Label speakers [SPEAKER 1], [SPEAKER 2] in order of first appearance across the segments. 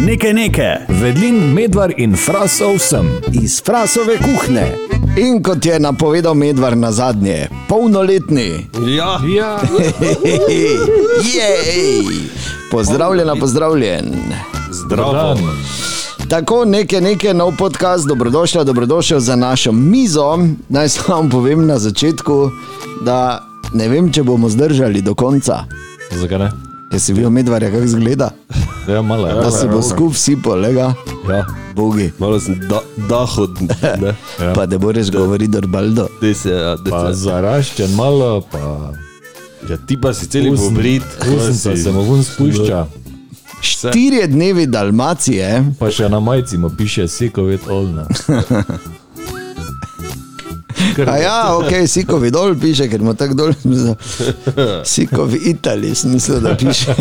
[SPEAKER 1] Nekaj neke.
[SPEAKER 2] Vedlin, medvar in frasov sem.
[SPEAKER 3] iz frasove kuhne. In kot je napovedal Medvar na zadnje, polnoletni,
[SPEAKER 4] Ja,
[SPEAKER 2] Ja,
[SPEAKER 3] jej, pozdravljena, pozdravljen.
[SPEAKER 4] zdravo.
[SPEAKER 3] Tako nekaj, nekaj nov podcast, dobrodošla, dobrodošel za našo mizo. Naj samo povem na začetku, da ne vem, če bomo zdržali do konca.
[SPEAKER 2] Zakaj ne?
[SPEAKER 3] Jaz si bil Medvar, kako izgleda,
[SPEAKER 2] Ja, malo je.
[SPEAKER 3] da se bo skup sipal, lega,
[SPEAKER 2] Ja.
[SPEAKER 3] bogi.
[SPEAKER 4] Malo sem da, dahod, ne,
[SPEAKER 3] Pa ne moreš govoriti, da je baldo.
[SPEAKER 4] te se, ja, te
[SPEAKER 2] Pa
[SPEAKER 4] se.
[SPEAKER 2] zaraščen malo, pa
[SPEAKER 4] Ja, ti pa si celi
[SPEAKER 2] Usn-
[SPEAKER 4] pobrit.
[SPEAKER 2] usnca se mu ven spušča.
[SPEAKER 3] Štirje dnevi Dalmacije.
[SPEAKER 2] Pa še na majici mu piše Sikovet Olna.
[SPEAKER 3] A ja, ok, sikovi dol piše, ker mu tako dol. Sikovi Italiji, sem mislil, da piše.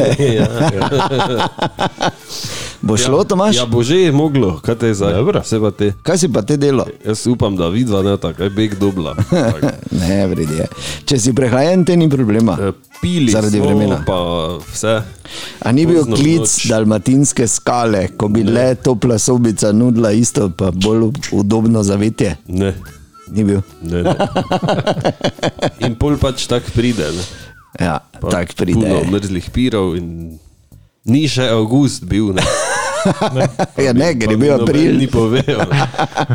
[SPEAKER 3] Bo šlo, Tomaš?
[SPEAKER 4] Ja, Ja, bo že je moglo, kaj te je zdaj?
[SPEAKER 2] Dobro.
[SPEAKER 4] Se pa te.
[SPEAKER 3] Kaj si pa te delo?
[SPEAKER 4] Jaz upam, da vidva ne tako, kaj beg dobla. Tako.
[SPEAKER 3] Ne, vredi je. Če si prehlajen, te ni problema.
[SPEAKER 4] Eh, Pili
[SPEAKER 3] Zaradi
[SPEAKER 4] smo,
[SPEAKER 3] vremena.
[SPEAKER 4] pa vse.
[SPEAKER 3] A ni bil
[SPEAKER 4] pozno v
[SPEAKER 3] klic
[SPEAKER 4] noč.
[SPEAKER 3] dalmatinske skale, ko bi le topla sobica nudila isto, pa bolj udobno zavetje?
[SPEAKER 4] Ne,
[SPEAKER 3] Ni bil.
[SPEAKER 4] ne, ne. In pol pač tak pride. Ne.
[SPEAKER 3] Ja,
[SPEAKER 4] Pa
[SPEAKER 3] tako
[SPEAKER 4] Puno
[SPEAKER 3] pride.
[SPEAKER 4] mrzlih pirov in ni še avgust bil. Ne.
[SPEAKER 3] Ja, ne, ker je
[SPEAKER 4] Pa mi
[SPEAKER 3] bil
[SPEAKER 4] noben Ni
[SPEAKER 3] april.
[SPEAKER 4] povedal.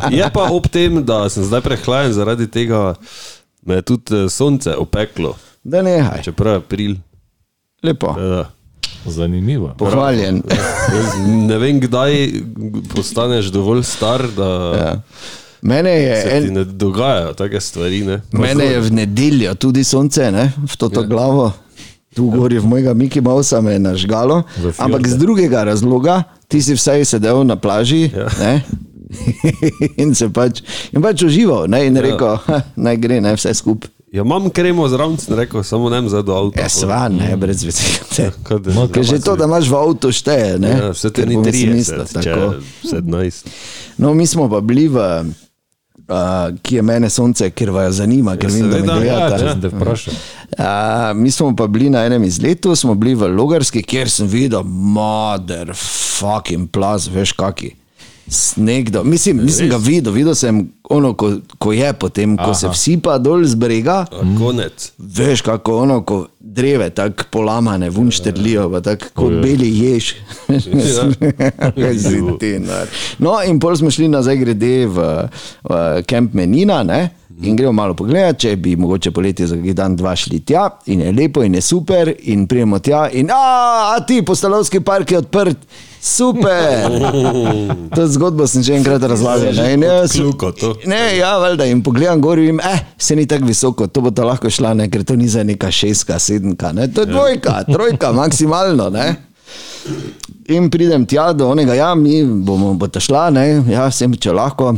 [SPEAKER 4] Je pa ob tem, da sem zdaj prehlajen, zaradi tega me je tudi eh, sonce opeklo,
[SPEAKER 3] Da nehaj.
[SPEAKER 4] čeprav je april.
[SPEAKER 3] Lepo.
[SPEAKER 4] eh, da.
[SPEAKER 2] Zanimivo.
[SPEAKER 3] Pohvaljen.
[SPEAKER 4] Jaz Ne vem, kdaj postaneš dovolj star, da ja.
[SPEAKER 3] Mene je
[SPEAKER 4] se
[SPEAKER 3] en,
[SPEAKER 4] ti ne dogajajo take stvari. Ne?
[SPEAKER 3] Mene je v nedeljo tudi sonce, ne? v to ja. glavo, tu gori v mojega Miki Mausa me je nažgalo.
[SPEAKER 2] V fjorde.
[SPEAKER 3] Ampak z drugega razloga, ti si vsaj sedel na plaži ja. in se pač, in pač užival ne? in rekel, ja. naj gre, naj vse skupaj.
[SPEAKER 4] Ja, imam kremo zraven, sem rekel, samo ne vem za do avta.
[SPEAKER 3] Ja, sva, ne, brez vezi.
[SPEAKER 4] Kaj da-
[SPEAKER 2] No,
[SPEAKER 3] Ker že to, da imaš v avtu šteje, ne?
[SPEAKER 4] Ja, vse te
[SPEAKER 3] Ker
[SPEAKER 4] ni
[SPEAKER 3] bom si
[SPEAKER 4] 30,
[SPEAKER 3] mislil
[SPEAKER 4] če
[SPEAKER 3] tako.
[SPEAKER 4] 17.
[SPEAKER 3] No, mi smo pa bili v, uh, ki je mene sonce, ker vaju zanima, ker ja, vem, da me
[SPEAKER 4] seveda, ja,
[SPEAKER 3] gledate.
[SPEAKER 2] Ja, če sem te vprašal.
[SPEAKER 3] A, mi smo pa bili na enem izletu, smo bili v Logarski, kjer sem videl, mater, fucking plaz, veš kaki. Sneg, do- mislim, nisem ga videl, videl sem ono, ko, ko je potem, ko Aha. se vsipa dol z brega,
[SPEAKER 4] Konec.
[SPEAKER 3] veš kako ono, ko dreve tako polamane, vun štrlijo, pa tako kot beli jež. Kaj si ti, nar. No, in pol smo šli nazaj, grede v, v kamp Menina ne? in gremo malo pogledat, če bi mogoče poletje za kakšen dan dva šli tja in je lepo in je super in prijemo tja in a, a ti, postalovski park je odprt. Super! To zgodbo sem že enkrat razlagal. ne, in jaz-
[SPEAKER 4] Kljuko to.
[SPEAKER 3] Ne, ja, valjda in pogledam gor in vidim, eh, se ni tako visoko, to bo to lahko šla, ne, ker to ni za neka šestka, sedemka, ne,
[SPEAKER 4] Ja.
[SPEAKER 3] to je dvojka, trojka, maksimalno, ne. In pridem tja do onega, ja, mi bomo bo ta šla, ne, ja, sem če lahko.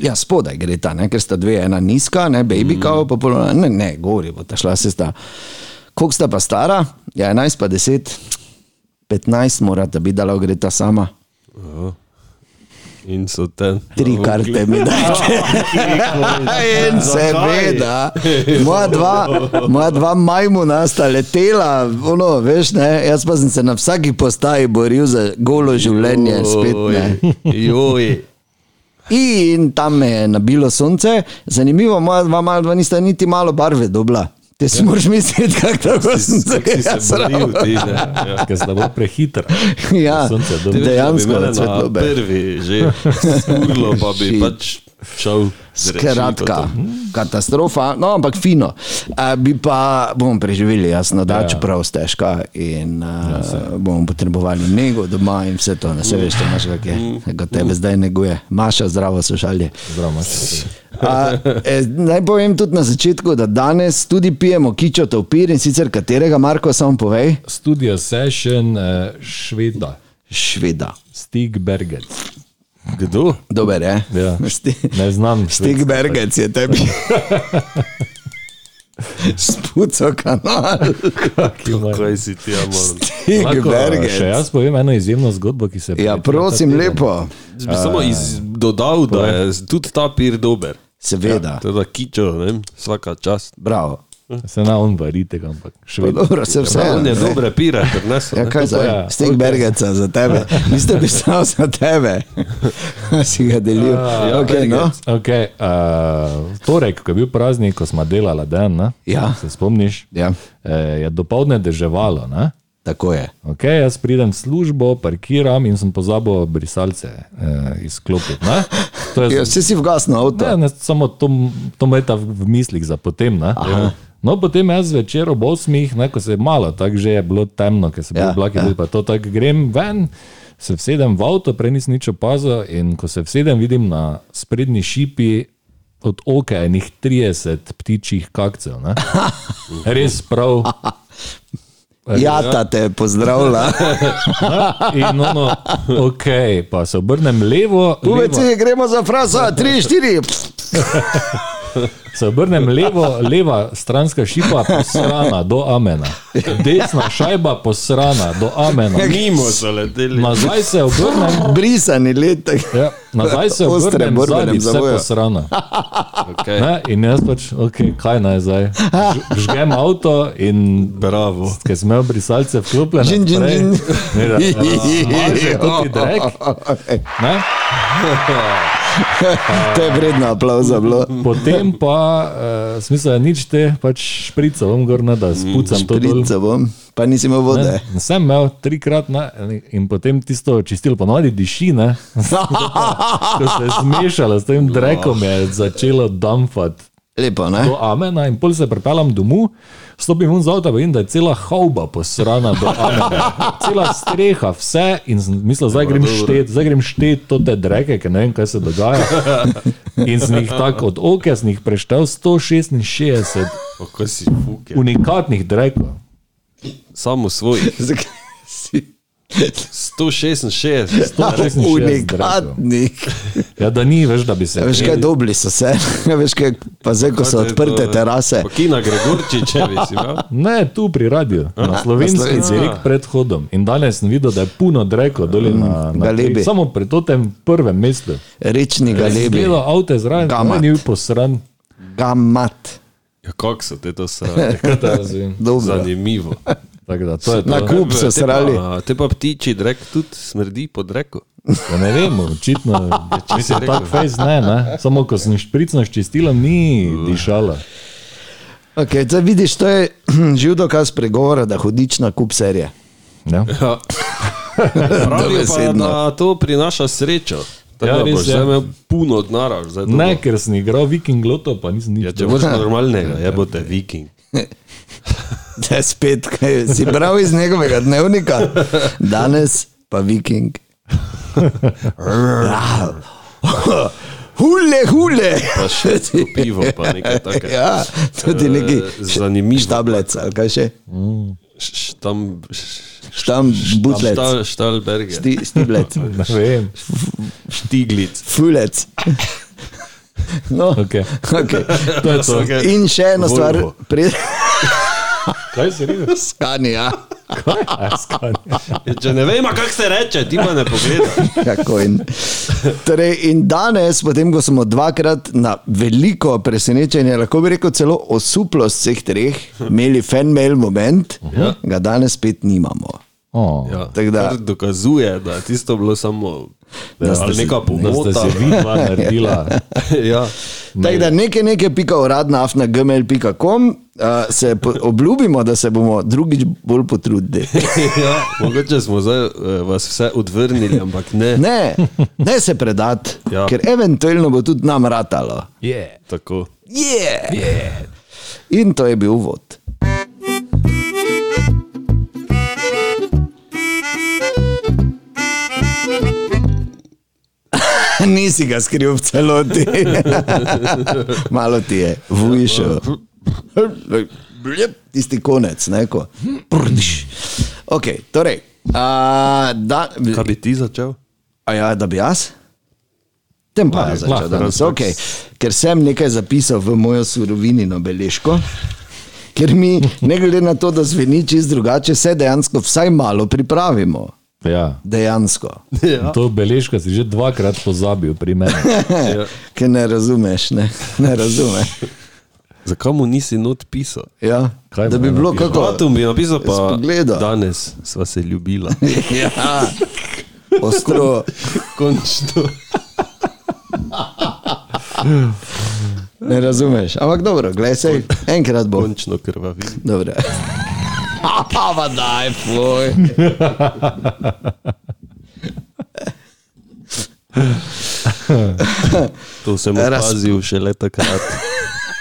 [SPEAKER 3] Ja, spodaj gre ta, ne, ker sta dve, ena nizka, ne, baby
[SPEAKER 4] Mm.
[SPEAKER 3] kao, pa polno, ne, ne, gori bo ta šla, se sta. Koliko sta pa stara? Ja, 11 pa 10, 15 morata biti, da lahko gre ta sama.
[SPEAKER 4] In so te.
[SPEAKER 3] Tri karte mi dajte. En seveda, moja dva, moja dva majmuna sta letela, ono, veš, ne? jaz pa sem se na vsaki postaji boril za golo življenje, spet ne.
[SPEAKER 4] Joj.
[SPEAKER 3] In tam me je nabilo sonce, zanimivo, moja dva mala dva nista niti malo barve dobla. Ti
[SPEAKER 4] Ja.
[SPEAKER 3] si moraš misliti, kako sem se
[SPEAKER 4] Kako si
[SPEAKER 3] jaz
[SPEAKER 4] se boril,
[SPEAKER 3] ravnal.
[SPEAKER 4] ti, ne? Ja.
[SPEAKER 2] Ker sem bolj prehiter.
[SPEAKER 3] Ja,
[SPEAKER 2] Sonce je
[SPEAKER 4] Ti
[SPEAKER 2] dobro.
[SPEAKER 4] veš, da bi
[SPEAKER 3] dejansko
[SPEAKER 4] mene
[SPEAKER 3] je
[SPEAKER 4] na
[SPEAKER 3] svetlobe.
[SPEAKER 4] Prvi že urlo, pa bi
[SPEAKER 3] Shit.
[SPEAKER 4] pač šel. z rešilko
[SPEAKER 3] Skratka,
[SPEAKER 4] tam.
[SPEAKER 3] katastrofa, no, ampak fino. Uh, bi pa bomo preživeli, jasno, da ja. čeprav stežka in uh, ja, bomo potrebovali nego doma in vse to, ne se veš, če imaš kakšne, kot tebe zdaj neguje. Maša, zdravo so šalje.
[SPEAKER 2] Zdravo, Maša.
[SPEAKER 3] A, eh, naj povem tudi na začetku, da danes tudi pijemo kičotov pir in sicer katerega, Marko, samo povej,
[SPEAKER 2] Studio Session eh, Šveda,
[SPEAKER 3] šveda.
[SPEAKER 2] Stigbergen.
[SPEAKER 4] Kdo?
[SPEAKER 3] Dober eh? je.
[SPEAKER 2] Ja.
[SPEAKER 3] Sti-
[SPEAKER 2] Ne znam.
[SPEAKER 3] Stig Bergec je tebi. Spuco kanal.
[SPEAKER 4] Kaj si ti, ja, amor?
[SPEAKER 3] Stig Bergec.
[SPEAKER 2] eh, Še jaz povem eno izjemno zgodbo, ki se je
[SPEAKER 3] Ja,
[SPEAKER 2] pred-
[SPEAKER 3] prosim, lepo.
[SPEAKER 4] Jaz bi samo iz, dodal, da je tudi ta pir dober.
[SPEAKER 3] Seveda,
[SPEAKER 2] Ja,
[SPEAKER 4] Teda kičo, ne? vem, vsaka čast.
[SPEAKER 3] bravo.
[SPEAKER 2] Se na on bari tega, ampak še vedno.
[SPEAKER 3] Dobro, se vse.
[SPEAKER 4] On je dobre pire prinesel.
[SPEAKER 3] Ja,
[SPEAKER 4] ne.
[SPEAKER 3] kaj zdaj?
[SPEAKER 2] Ja,
[SPEAKER 3] Stek bergeca za tebe. Niste pisal za tebe. si ga delil.
[SPEAKER 4] ja,
[SPEAKER 3] okay, no.
[SPEAKER 4] bergec.
[SPEAKER 2] Okay, uh, torek, ko je bil praznik, ko smo delali dan, ne?
[SPEAKER 3] Ja.
[SPEAKER 2] se spomniš,
[SPEAKER 3] ja,
[SPEAKER 2] eh, je dopoledne deževalo. Ne?
[SPEAKER 3] tako je.
[SPEAKER 2] Okay, jaz pridem v službo, parkiram in sem pozabil brisalce eh, izklopiti. ne. To je
[SPEAKER 3] Ja, Vsi si vgasno avto.
[SPEAKER 2] Ne, ne, samo to, to meta v mislih za potem. ne. No, potem jaz zvečer ob 8, ne, ko se je malo, tako že je bilo temno, ker so bili
[SPEAKER 3] Ja,
[SPEAKER 2] ja, blaki,
[SPEAKER 3] ja.
[SPEAKER 2] ja. pa to tako grem ven, se vsedem v avto, prej nisem nič opazil in ko se vsedem, vidim na sprednji šipi od oka enih 30 ptičjih kakcev. Ne. Res prav.
[SPEAKER 3] Jata Ja, te pozdravlja.
[SPEAKER 2] In ono, ok, pa se obrnem levo, levo
[SPEAKER 3] Povejte, gremo za fraza, 3, 4.
[SPEAKER 2] Se obrnem levo, leva stranska šipa posrana do amena, desna šajba posrana do amena.
[SPEAKER 4] Mimo so leteli.
[SPEAKER 2] Nazaj se obrnem,
[SPEAKER 3] Brisani letek.
[SPEAKER 2] ja, nazaj se
[SPEAKER 3] Ostre
[SPEAKER 2] obrnem, zadnji
[SPEAKER 3] borbenem
[SPEAKER 2] vse
[SPEAKER 3] zavoju.
[SPEAKER 2] posrana.
[SPEAKER 4] Okay.
[SPEAKER 2] Ne? In jaz pač, ok, kaj naj zdaj. Ž- Žgem avto in
[SPEAKER 4] Bravo.
[SPEAKER 2] ker sem imel brisalce vklopljene,
[SPEAKER 3] Džin, džin,
[SPEAKER 2] prej,
[SPEAKER 3] džin.
[SPEAKER 2] ne, da, maže kot ti drek, ne?
[SPEAKER 3] To je vredno aplauza bilo.
[SPEAKER 2] Potem pa, uh, smisel je nič te, pač šprico, vam gor ne da, spucam to dol.
[SPEAKER 3] Šprica bom, pa nisi imel vode.
[SPEAKER 2] Ne, Sem imel trikrat na, in potem tisto čistilo ponovadi diši, ne? ko se je zmešalo s tem drekom, je začelo damfati.
[SPEAKER 3] Lepo, ne?
[SPEAKER 2] Do amena no, in pol se pripeljem domov, stopim v avto in vidim, da je cela hauba posrana do amena. Cela streha, vse in sem mislil, zdaj grem štet, zdaj grem štet to te dreke, ker ne vem, kaj se dogaja. In sem jih tako od oka, sem jih preštel 166
[SPEAKER 4] Pa Ko si fuke.
[SPEAKER 2] unikatnih drekov.
[SPEAKER 4] Samo svoj.
[SPEAKER 3] Zakaj si
[SPEAKER 4] 166.
[SPEAKER 2] 166 drekov.
[SPEAKER 3] unikatni?
[SPEAKER 2] Ja, da ni več, da bi se.
[SPEAKER 3] Veš kaj, dobili so se. Ja, Veš kaj, pa zdaj, ko so odprte terase.
[SPEAKER 4] Pa Kina Gregorčičevi si ja? imel.
[SPEAKER 2] Ne, tu pri radiju, na slovenskem,
[SPEAKER 3] slovenskem.
[SPEAKER 2] direkt pred hodom. In danes sem videl, da je puno dreko dol na, na
[SPEAKER 3] galebi.
[SPEAKER 2] tri- Samo pri tem prvem mestu.
[SPEAKER 3] Rečni galebi.
[SPEAKER 2] Gledal avto zraven,
[SPEAKER 3] Gamat.
[SPEAKER 2] tam ni bil posran.
[SPEAKER 3] Gamat.
[SPEAKER 4] Ja, kako so te to srali?
[SPEAKER 2] Kaj te jaz vem.
[SPEAKER 3] Dobro.
[SPEAKER 4] Zanimivo.
[SPEAKER 2] Tako da, to je
[SPEAKER 3] Na
[SPEAKER 2] to.
[SPEAKER 3] kup so
[SPEAKER 4] Te
[SPEAKER 3] srali.
[SPEAKER 4] pa, te pa ptiči, drek tudi smrdi po dreku.
[SPEAKER 2] Ja, ne vem, očitno.
[SPEAKER 4] Če si
[SPEAKER 2] Tak fejs ne, ne. Samo ko sem špricno ščistila, ni dišala.
[SPEAKER 3] Okay, zdaj vidiš, to je živ dokaz pregovora, da hudič na kup serije.
[SPEAKER 2] Ja.
[SPEAKER 4] Ja. Pravijo pa,
[SPEAKER 3] Dobesedno.
[SPEAKER 4] da to prinaša srečo. Tako
[SPEAKER 2] Ja,
[SPEAKER 4] da
[SPEAKER 2] res je.
[SPEAKER 4] boš zdaj imel puno odnara. zdaj doma.
[SPEAKER 2] Ne, ker sem igral viking loto, pa nisem nič.
[SPEAKER 4] Ja, če
[SPEAKER 2] dobil.
[SPEAKER 4] boš normalnega, je bo te viking.
[SPEAKER 3] Da je spet, kaj si bral iz njegovega dnevnika, danes pa viking. Rav. Hule, hule.
[SPEAKER 4] Pa še pivo, pa nekaj takega.
[SPEAKER 3] Ja, tudi neki
[SPEAKER 4] Eh, zanimivo.
[SPEAKER 3] Štablec ali kaj še.
[SPEAKER 4] Štam,
[SPEAKER 3] Štam, butlec,
[SPEAKER 4] štal, štalberge,
[SPEAKER 3] Sti, stiblec,
[SPEAKER 2] Ne vem.
[SPEAKER 4] štiglic.
[SPEAKER 3] fulec. No,
[SPEAKER 2] Okay.
[SPEAKER 3] okay.
[SPEAKER 2] To je to.
[SPEAKER 4] Vsake-
[SPEAKER 3] In še ena stvar,
[SPEAKER 4] Volvo.
[SPEAKER 2] Kaj si rekel?
[SPEAKER 3] preskanja.
[SPEAKER 2] Kaj? A, skanja.
[SPEAKER 4] Ja, Če ne vem, kako se reče, ti pa ne pogledaš.
[SPEAKER 3] Kako In, torej, in danes, potem ko smo dvakrat na veliko presenečenje, lahko bi rekel celo osuplost vseh treh, imeli fanmail moment, ga danes spet nimamo.
[SPEAKER 2] O.
[SPEAKER 4] Ja,
[SPEAKER 3] Tako da-
[SPEAKER 4] kar dokazuje, da je tisto bilo samo
[SPEAKER 3] Da
[SPEAKER 4] da
[SPEAKER 3] ste
[SPEAKER 4] ali
[SPEAKER 3] si-
[SPEAKER 2] Da
[SPEAKER 4] neka
[SPEAKER 2] ste
[SPEAKER 4] pomota.
[SPEAKER 2] se vidva naredila.
[SPEAKER 4] ja.
[SPEAKER 3] Tako da nekaj, nekaj, pika uradna, afna gmail.com, uh, se po- obljubimo, da se bomo drugič bolj potrudili.
[SPEAKER 4] ja, mogoče smo zdaj eh, vas vse odvrnili, ampak ne. ne.
[SPEAKER 3] Ne, ne se predati, ja.
[SPEAKER 4] Ja.
[SPEAKER 3] ker eventualno bo tudi nam ratalo.
[SPEAKER 2] Yeah.
[SPEAKER 4] Tako.
[SPEAKER 3] Yeah. Yeah. In to je bil uvod. Nisi ga skril v celoti, malo ti je, vujšel. Tisti konec, neko. Okay, torej, a, da,
[SPEAKER 4] Kaj bi ti začel?
[SPEAKER 3] A ja, da bi jaz? Tem pa jaz
[SPEAKER 2] lahko,
[SPEAKER 3] začel danes.
[SPEAKER 4] lahko.
[SPEAKER 3] Okay. Ker sem nekaj zapisal v mojo surovinino beležko, ker mi, ne glede na to, da zveni čist drugače, se dejansko vsaj malo pripravimo.
[SPEAKER 2] Ja.
[SPEAKER 3] Dejansko.
[SPEAKER 4] Ja.
[SPEAKER 2] To beležko si že dvakrat pozabil pri meni.
[SPEAKER 4] Ja.
[SPEAKER 3] Ker ne razumeš, ne, ne razumeš.
[SPEAKER 4] Zakaj mu nisi not pisal?
[SPEAKER 3] Ja,
[SPEAKER 2] Kaj
[SPEAKER 3] da
[SPEAKER 2] mu
[SPEAKER 3] bi
[SPEAKER 2] je
[SPEAKER 3] bilo kako.
[SPEAKER 4] Datum bi napisal, pa
[SPEAKER 3] Spogleda.
[SPEAKER 4] danes sva se ljubila.
[SPEAKER 3] Ja, ostro.
[SPEAKER 4] Končno.
[SPEAKER 3] Ne razumeš. Ampak dobro, gledaj se, enkrat bo.
[SPEAKER 4] Končno krvavi.
[SPEAKER 3] Dobro. Pa daj, fuj.
[SPEAKER 4] To sem
[SPEAKER 3] Raz-
[SPEAKER 4] opazil šele takrat,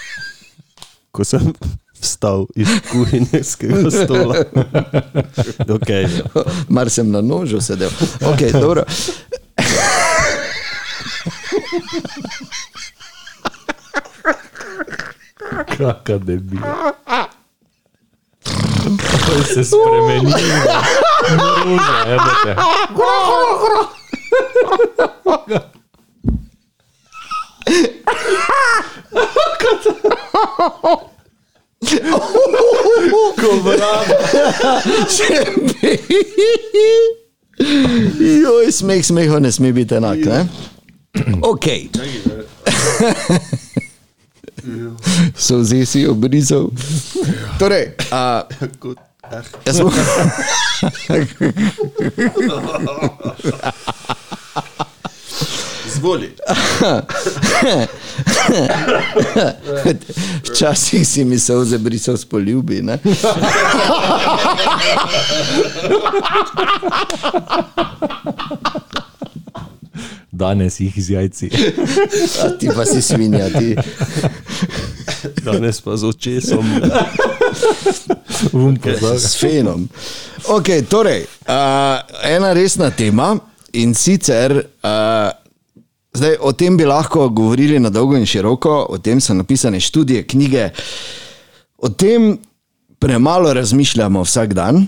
[SPEAKER 4] ko sem vstal iz kuhinjskega stola. ja. Okay.
[SPEAKER 3] Mar sem na nožu sedel. Okay, dobro.
[SPEAKER 2] Kaka debila. Kaj se spremeni? Ruža, jebate.
[SPEAKER 3] Joj, smeh smehu ne sme biti enak. Ne? Ok. So vsi si obrizal. Torej, a, jaz bom.
[SPEAKER 4] Zvoli.
[SPEAKER 3] Včasih si mi se ozebrisal s poljubi. Ne?
[SPEAKER 2] Danes jih iz jajci.
[SPEAKER 3] A ti pa si svinja, ti.
[SPEAKER 4] Danes pa z očesom.
[SPEAKER 2] Vum pozaga.
[SPEAKER 3] s fenom. Okay, torej, uh, ena resna tema in sicer, uh, zdaj, o tem bi lahko govorili na dolgo in široko, o tem so napisane študije, knjige, o tem premalo razmišljamo vsak dan.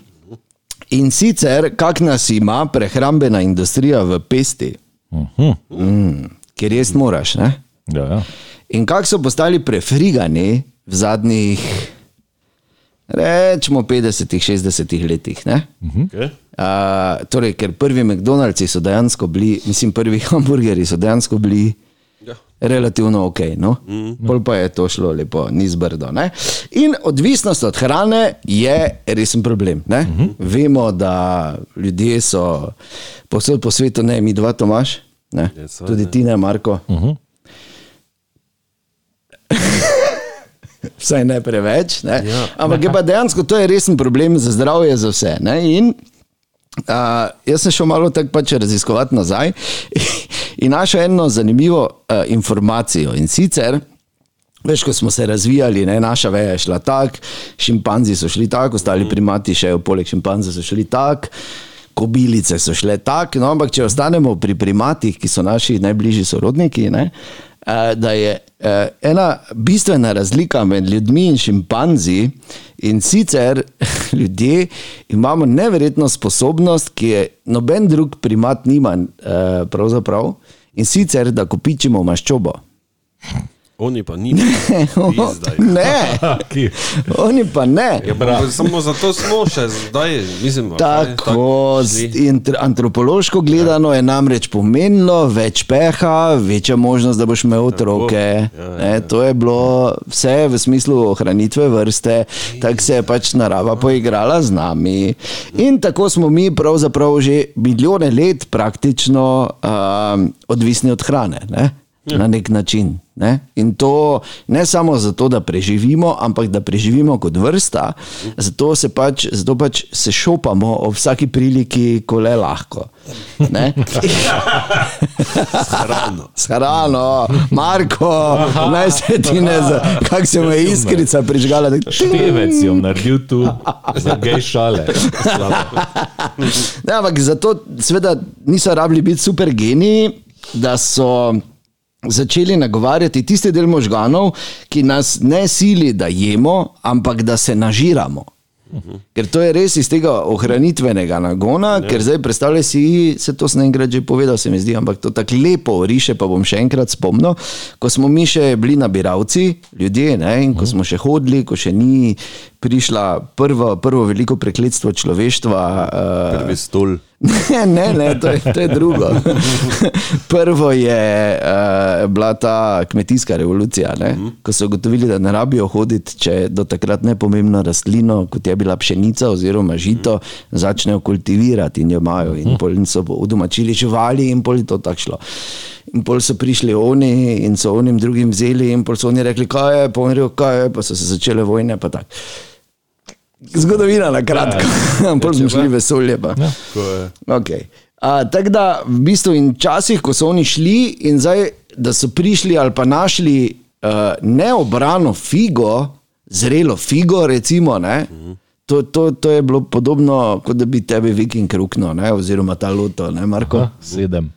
[SPEAKER 3] In sicer, kak nas ima prehrambena industrija v pesti,
[SPEAKER 2] Uh -huh.
[SPEAKER 3] mm, ker jaz moraš. Ne?
[SPEAKER 2] Ja, ja.
[SPEAKER 3] In kako so postali prefrigani v zadnjih, rečemo, 50-60 letih. Ne?
[SPEAKER 4] Okay.
[SPEAKER 3] Uh, torej, ker prvi McDonald'si so dejansko bili, mislim, prvi hamburgerji so dejansko bili.
[SPEAKER 4] Ja.
[SPEAKER 3] Relativno ok, no? mm. bolj pa je to šlo lepo, ni zbrdo. Ne? In odvisnost od hrane je resen problem. Mm -hmm. Vemo, da ljudje so posod po svetu, ne mi dva, Tomaš, ne?
[SPEAKER 4] Jaz sem,
[SPEAKER 3] tudi ti ne, Marko. Mm -hmm. Vsaj ne preveč. Ne? Ja. Ampak je pa dejansko to je resen problem za zdravje, za vse. Ne? In Uh, jaz sem šel malo tako pač raziskovati nazaj in našel eno zanimivo uh, informacijo. In sicer, veš, ko smo se razvijali, ne, naša veja je šla tako, šimpanzi so šli tako, ostali primati še poleg šimpanzov so šli tako. Kobilice so šle tako, no, ampak če ostanemo pri primatih, ki so naši najbližji sorodniki, ne, eh, da je eh, ena bistvena razlika med ljudmi in šimpanzi in sicer ljudje imamo neverjetno sposobnost, ki je noben drug primat nima, eh, pravzaprav, in sicer da kopičimo maščobo.
[SPEAKER 4] Oni pa nimajo. Izdaj.
[SPEAKER 3] ne,
[SPEAKER 2] Ki-
[SPEAKER 3] oni pa ne.
[SPEAKER 4] Ja, pa samo zato smo še zdaj, mislim, da
[SPEAKER 3] Tako, z- in tr- antropološko
[SPEAKER 4] Ja.
[SPEAKER 3] gledano je namreč pomenilo več peha, večja možnost, da boš imel otroke.
[SPEAKER 4] ja, ja,
[SPEAKER 3] Ne, To je bilo vse v smislu ohranitve vrste, tako se je pač narava poigrala z nami. In tako smo mi pravzaprav že milijone let praktično um, odvisni od hrane. Ne?
[SPEAKER 4] Ja.
[SPEAKER 3] Na nek način. Ne? In to ne samo zato, da preživimo, ampak da preživimo kot vrsta, zato, se pač, zato pač se šopamo ob vsaki priliki, ko le lahko. Ne?
[SPEAKER 4] hrano.
[SPEAKER 3] S hrano, Marko, naj se ti ne za, kako se mu je iskrica prižgala. tako,
[SPEAKER 2] Števec je naredil tu, za gej šale.
[SPEAKER 3] Ne, ampak zato, seveda, niso rabili biti super geniji, da so začeli nagovarjati tisti del možganov, ki nas ne sili, da jemo, ampak da se nažiramo. Ker to je res iz tega ohranitvenega nagona, ne. ker zdaj predstavljaj si, se to sem enkrat že povedal, se mi zdi, ampak to tako lepo riše, pa bom še enkrat spomnil, ko smo mi še bili nabiralci, ljudje, ne, in ko smo še hodili, ko še ni prišla prvo, prvo veliko prekletstvo človeštva. Uh,
[SPEAKER 4] Prvi stol.
[SPEAKER 3] Ne, ne, ne to, je, to je drugo. Prvo je uh, bila ta kmetijska revolucija, ne? ko so ugotovili, da ne rabijo hoditi, če do takrat nepomembno rastlino, kot je bila pšenica oziroma žito, začnejo kultivirati in jo imajo. In pol so udomačili živali in pol je to tako šlo. In pol so prišli oni in so onim drugim vzeli in pol so oni rekli, kaj je, pa oni rekli, kaj je, pa so se začele vojne pa tako. Zgodovina na kratko, ampak smo šli v vesolje. Pa.
[SPEAKER 2] Ja.
[SPEAKER 4] Ko je-
[SPEAKER 3] Okay. A, Tako da, v bistvu, in včasih, ko so oni šli in zdaj, da so prišli ali pa našli uh, neobrano figo, zrelo figo, recimo, ne, to, to, to je bilo podobno, kot da bi tebi viking rukno, ne, oziroma ta loto, ne, Marko.
[SPEAKER 2] Ah, Sedem.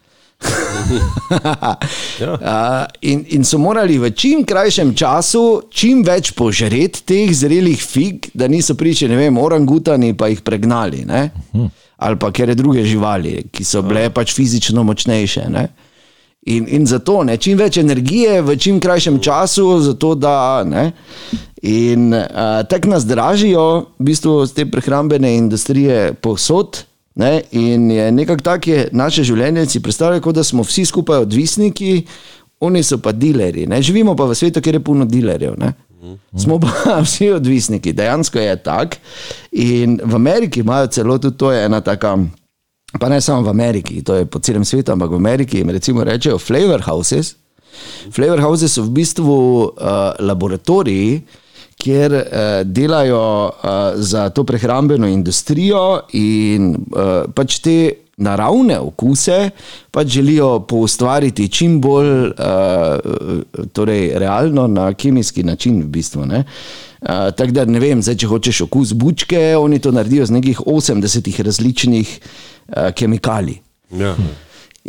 [SPEAKER 3] Uh, in, in so morali v čim krajšem času čim več požreti teh zrelih fig, da niso prišli, ne vem, orangutani pa jih pregnali. Ne? Ali pa kjer druge živali, ki so bile pač fizično močnejše. Ne? In, in zato ne, čim več energije v čim krajšem času, zato da ne. In uh, tako nas dražijo, v bistvu z te prehrambene industrije povsod. Ne? In je nekako tako je naše življenje, si predstavljajo, kot da smo vsi skupaj odvisniki, oni so pa dileri. Ne? Živimo pa v svetu, kjer je polno dilerjev. Ne? Smo pa vsi odvisniki, dejansko je tako. In v Ameriki imajo celo tudi to je ena taka. Pa ne samo v Ameriki, to je po celem svetu, ampak v Ameriki jim recimo rečejo flavor houses. Flavor houses so v bistvu uh, laboratoriji, kjer uh, delajo uh, za to prehrambeno industrijo in uh, pač te naravne okuse pač želijo poustvariti čim bolj uh, torej realno na kemijski način. V bistvu, ne. Uh, Tako da ne vem, zdaj, če hočeš okus bučke, oni to naredijo z nekih 80 različnih uh, kemikalij.
[SPEAKER 4] Ja.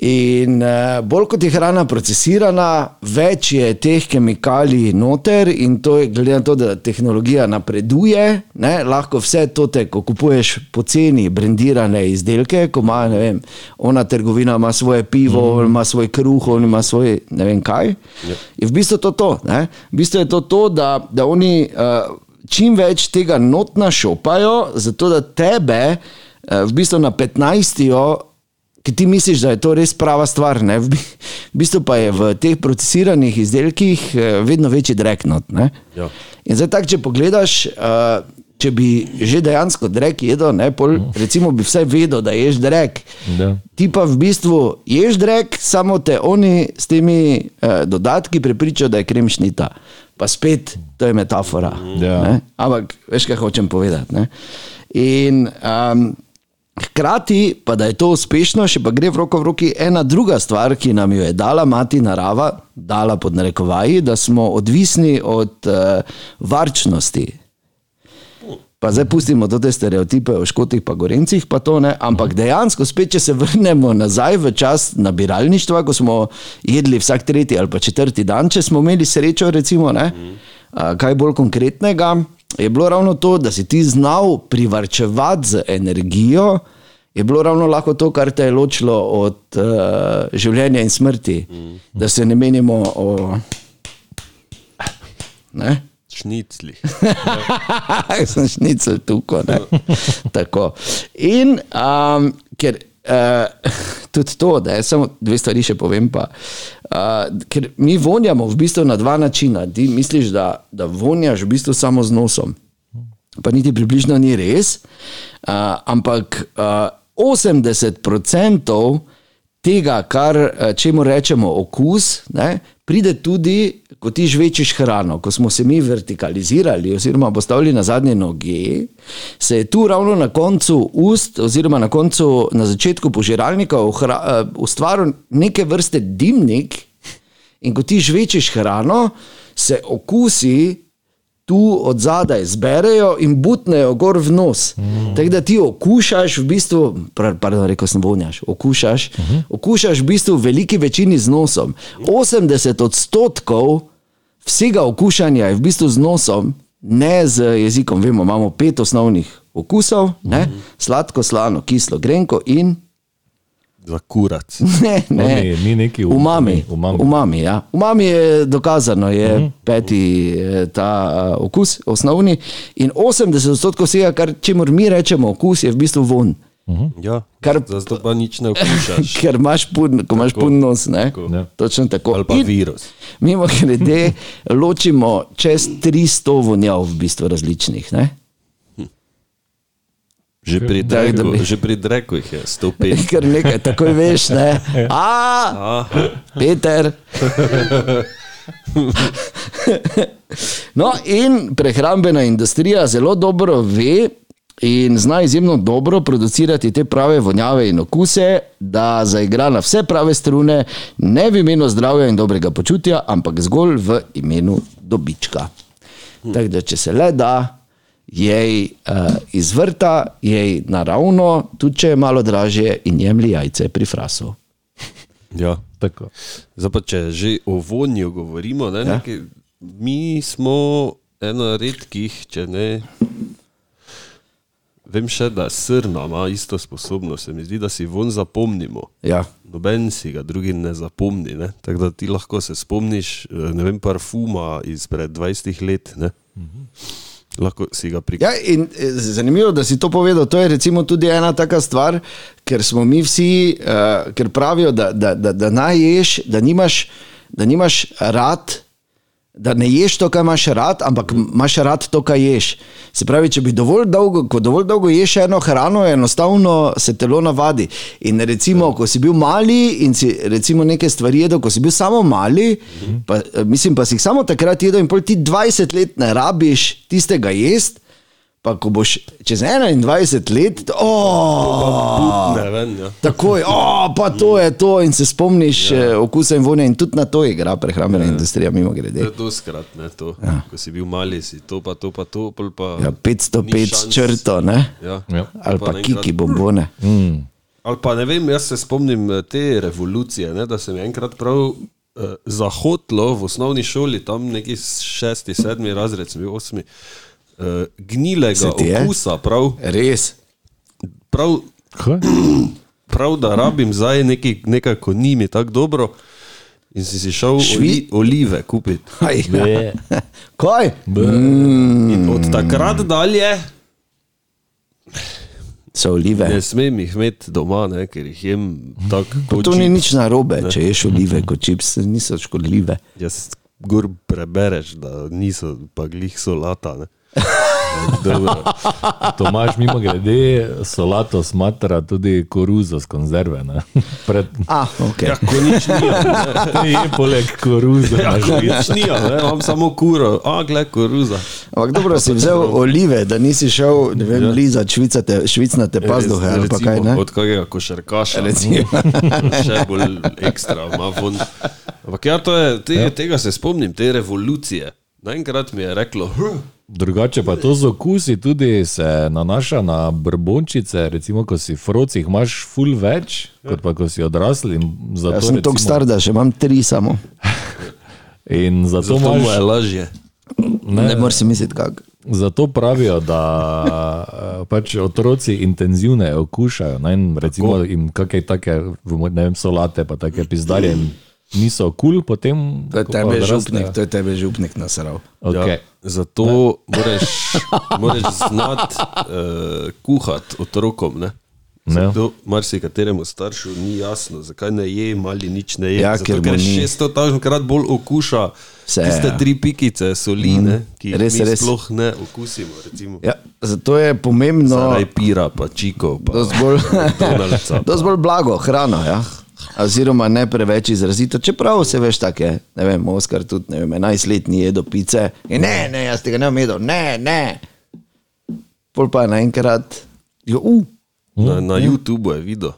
[SPEAKER 3] In uh, bolj kot je hrana procesirana, več je teh kemikalij noter, in to je, glede na to, da tehnologija napreduje, ne, lahko vse to te, ko kupuješ poceni, brendirane izdelke, ko ima, ne vem, ona trgovina ima svoje pivo, mm. ima svoj kruh, on ima svoj ne vem kaj. Yep. In v bistvu je to to, ne. v bistvu je to to, da, da oni uh, čim več tega notna šopajo, zato da tebe uh, v bistvu na 15 ki ti misliš, da je to res prava stvar. Ne? V bi- v bistvu pa je v teh procesiranih izdelkih eh, vedno večji dreknot. Ne?
[SPEAKER 4] Ja.
[SPEAKER 3] In zdaj, tak, če pogledaš, eh, če bi že dejansko drek jedel, ne, pol, recimo bi vse vedel, da ješ drek.
[SPEAKER 2] Da.
[SPEAKER 3] Ti pa v bistvu ješ drek, samo te oni s temi eh, dodatki prepričajo, da je kremšnita. Pa spet, to je metafora.
[SPEAKER 2] Ja.
[SPEAKER 3] ne. Ampak veš, kaj hočem povedati. Ne? In um, hkrati pa da je to uspešno, še pa gre v roko v roki ena druga stvar, ki nam jo je dala mati narava, dala pod narekovaji, da smo odvisni od uh, varčnosti. Pa zdaj pustimo to te stereotipe o škotih, pa gorencih, pa to ne. Ampak dejansko, spet, če se vrnemo nazaj v čas nabiralništva, ko smo jedli vsak tretji ali pa četrti dan, če smo imeli srečo, recimo, ne, a, kaj bolj konkretnega, je bilo ravno to, da si ti znal privrčevati z energijo. Je bilo ravno lahko to, kar te je ločilo od uh, življenja in smrti, mm. da se ne menimo o. Ne?
[SPEAKER 4] Šnicli.
[SPEAKER 3] sem šnicel tukaj. ne. Tako. In um, ker. Uh, tudi to, da je samo dve stvari še povem. Pa, uh, ker mi vonjamo v bistvu na dva načina. Ti misliš, da, da vonjaš v bistvu samo z nosom. Pa niti približno ni res. Uh, ampak uh, 80% tega, kar, eh, čemu rečemo okus, ne, pride tudi, ko ti žvečiš hrano. Ko smo se mi vertikalizirali, oziroma postavili na zadnje noge, se je tu ravno na koncu ust, oziroma na, koncu, na začetku požiralnika, ohra- eh, ustvaril neke vrste dimnik. In ko ti žvečiš hrano, se okusi tu od zadaj zberejo in butnejo gor v nos. Mm. Tako da ti okušaš, v bistvu, pra- pardon, rekel sem vonjaš, okušaš, uh -huh. okušaš v bistvu v veliki večini z nosom. 80 odstotkov vsega okušanja je v bistvu z nosom, ne z jezikom. Vemo, imamo pet osnovnih okusov, ne? sladko, slano, kislo, grenko in
[SPEAKER 4] Za kurac.
[SPEAKER 3] ne, ne.
[SPEAKER 2] Oni- Ni neki um-
[SPEAKER 3] Umami.
[SPEAKER 2] umami.
[SPEAKER 3] Umami, ja. umami je dokazano, je mm. peti eh, ta eh, okus, osnovni. In 80% vsega, kar čemu mi rečemo okus, je v bistvu von.
[SPEAKER 4] Ja,
[SPEAKER 3] Mhm. Kar-
[SPEAKER 4] Zato pa nič ne okušaš.
[SPEAKER 3] Ker imaš pun, ko imaš pun nos, ne?
[SPEAKER 2] Ja.
[SPEAKER 3] Točno tako.
[SPEAKER 4] Ali pa
[SPEAKER 3] In
[SPEAKER 4] virus.
[SPEAKER 3] Mimo grede, ločimo čez 300 vonjav, v bistvu različnih. Ne?
[SPEAKER 4] Že pri
[SPEAKER 3] da bi-
[SPEAKER 4] dreku, že pri dreku jih je 105.
[SPEAKER 3] Ker nekaj takoj veš, ne. A,
[SPEAKER 4] Aha,
[SPEAKER 3] Peter. No, in prehrambena industrija zelo dobro ve in zna izjemno dobro producirati te prave vonjave in okuse, da zaigra na vse prave strune, ne v imenu zdravja in dobrega počutja, ampak zgolj v imenu dobička. Tako da, če se le da, jej uh, izvrta, jej naravno, tudi če je malo dražje, in jemlji jajce pri frasu.
[SPEAKER 4] ja.
[SPEAKER 2] Tako.
[SPEAKER 4] Zdaj pa, če že o vonju govorimo, ne, ja. nekaj, mi smo ena redkih, če ne. Vem še, da srna ima isto sposobnost. Se mi zdi, da si von zapomnimo.
[SPEAKER 3] Ja.
[SPEAKER 4] Noben si ga, drugi ne zapomni. Ne? Tako da ti lahko se spomniš, eh, ne vem, parfuma izpred 20 let. Ne? Lahko si ga prikažeš.
[SPEAKER 3] Ja, in eh, zanimivo, da si to povedal. To je recimo tudi ena taka stvar, ker smo mi vsi, uh, ker pravijo, da, da, da, da naj ješ, da nimaš, da nimaš rad. Da ne ješ to, kar imaš rad, ampak imaš rad to, kar ješ. Se pravi, če bi dovolj dolgo, ko dovolj dolgo ješ eno hrano, enostavno se telo navadi. In recimo, ko si bil mali in si recimo neke stvari jedel, ko si bil samo mali, pa, eh, mislim pa si jih samo takrat jedel in pol ti 20 let ne rabiš tistega jesti, Pa ko boš čez 21 let, oh,
[SPEAKER 4] Ne vem, ja.
[SPEAKER 3] takoj, oh, pa to je to, in se spomniš ja. okusa in vonja, in tudi na to igra prehrambena ja. industrija, mimo
[SPEAKER 4] To
[SPEAKER 3] grede.
[SPEAKER 4] je doskrat, ne to. Ja. Ko si bil mali, si to, pa to, pa to. pol Pa
[SPEAKER 3] Ja,
[SPEAKER 4] ni
[SPEAKER 3] 505
[SPEAKER 4] šans.
[SPEAKER 3] črto, ne?
[SPEAKER 4] Ja.
[SPEAKER 2] Ja.
[SPEAKER 3] ali pa
[SPEAKER 4] naenkrat-
[SPEAKER 3] kiki bombone.
[SPEAKER 4] Ali pa ne vem, jaz se spomnim eh, te revolucije, ne, da se mi je enkrat prav eh, zahodilo v osnovni šoli, tam neki šesti, sedmi razred, sem bil osmi, eh, gnilega
[SPEAKER 3] ti je?
[SPEAKER 4] okusa, prav,
[SPEAKER 3] Res.
[SPEAKER 4] prav,
[SPEAKER 2] Kaj?
[SPEAKER 4] prav da rabim zdaj neki, nekaj, ko ni mi tako dobro. In si, si šel
[SPEAKER 3] Švi-
[SPEAKER 4] Švi... olive kupiti.
[SPEAKER 3] Aj, ja.
[SPEAKER 2] Be.
[SPEAKER 3] Kaj?
[SPEAKER 4] In od takrat dalje
[SPEAKER 3] So
[SPEAKER 4] ne
[SPEAKER 3] olive.
[SPEAKER 4] smem jih imeti doma, ne, ker jih jem tako kot
[SPEAKER 3] To ni
[SPEAKER 4] čips.
[SPEAKER 3] nič narobe, če ješ olive kot čips, niso škodljive.
[SPEAKER 4] Jaz gor prebereš, da niso pa glih solata. Ne. Dobro.
[SPEAKER 2] Tomaž mimo grede, solato smatra tudi koruzo z konzerve. ne. Pred,
[SPEAKER 3] Ah, okay.
[SPEAKER 4] Ja, ko nič ni,
[SPEAKER 2] ne je poleg koruze.
[SPEAKER 4] ja, ko nič ni, ne, imam samo kuro, a gled koruza.
[SPEAKER 3] Ampak dobro si vzel olive, da nisi šel, ne vem, lizati švicate- švicnate pazduhe ali pa
[SPEAKER 4] Recimo,
[SPEAKER 3] kaj ne.
[SPEAKER 4] Od kakega košarkaša.
[SPEAKER 3] Recimo.
[SPEAKER 4] Še bolj ekstra, ima von. Ampak ja, to je, te, ja. tega se spomnim, te revolucije. Naenkrat mi je reklo, hm,
[SPEAKER 2] Drugače pa to z okusi tudi se nanaša na brbončice, recimo, ko si frocih imaš ful več, kot pa ko si odrasli. in Zato,
[SPEAKER 3] Jaz sem tako
[SPEAKER 2] recimo-
[SPEAKER 3] star, da še imam tri samo.
[SPEAKER 2] In zato,
[SPEAKER 4] zato
[SPEAKER 2] imaš,
[SPEAKER 4] mu je lažje.
[SPEAKER 3] Ne, ne moreš si misliti, kako.
[SPEAKER 2] zato pravijo, da eh, pač otroci intenzivne okušajo. Ne, in recimo, jim kakšne take, v moj- ne vem, solate, pa take pizdarje jim niso kul, cool, potem. ko pa odrastejo.
[SPEAKER 3] to je tebe župnik nasral.
[SPEAKER 2] Okay.
[SPEAKER 4] Ja, zato moraš, moraš znati uh, kuhati otrokom. Ne?
[SPEAKER 2] Ne.
[SPEAKER 4] Zato marsikateremu staršu ni jasno, zakaj ne je, mali nič ne je.
[SPEAKER 3] Ja, ker
[SPEAKER 4] zato,
[SPEAKER 3] mu
[SPEAKER 4] ker
[SPEAKER 3] ni.
[SPEAKER 4] 600 tažn krat bolj okuša
[SPEAKER 3] Vse,
[SPEAKER 4] Vse, tiste
[SPEAKER 3] ja. Mhm.
[SPEAKER 4] ja. tri pikice soline, mm, ki jih
[SPEAKER 3] res,
[SPEAKER 4] res, mi
[SPEAKER 3] res.
[SPEAKER 4] res. sploh ne okusimo. Recimo.
[SPEAKER 3] Ja, zato je pomembno,
[SPEAKER 4] Zaraj pira, pa čikov, pa
[SPEAKER 3] dosti bolj,
[SPEAKER 4] donalca.
[SPEAKER 3] dosti bolj blago hrano. Ja? Oziroma, ne preveč izrazito, čeprav se veš, tako je. Ne vem, Oskar tudi ne vem, 11 let ni jedel pice. In ne, ne, jaz tega ne bom jedel, ne, ne. Pol pa je naenkrat, jo, uh,
[SPEAKER 4] Na, na YouTubu je videl,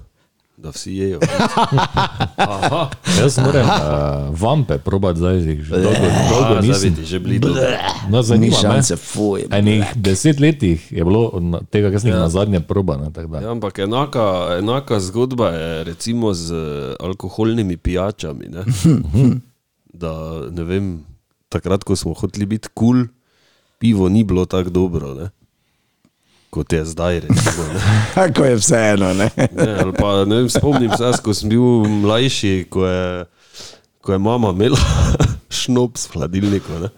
[SPEAKER 4] da vsi jejo.
[SPEAKER 2] Jaz moram uh, vampe probati zdaj, že dolgo, dolgo
[SPEAKER 4] Dolgo
[SPEAKER 2] nisem.
[SPEAKER 4] nisem. Že bili dolgo.
[SPEAKER 2] No,
[SPEAKER 3] ni
[SPEAKER 2] zanima me.
[SPEAKER 3] šanse, fuj.
[SPEAKER 2] Enih deset letih je bilo od na- tega, kar sem jih na zadnje probal.
[SPEAKER 4] Ja, ampak enaka, enaka zgodba je recimo z eh, alkoholnimi pijačami. Ne? Da, ne vem, takrat, ko smo hoteli biti kul, cool, pivo ni bilo tako dobro, ne? kot je zdaj. Recimo, ne?
[SPEAKER 3] Tako je vseeno, ne.
[SPEAKER 4] Ne, ali pa, ne vem, spomnim se, jaz, ko sem bil mlajši, ko je, ko je mama imela šnops v hladilniku. Ne?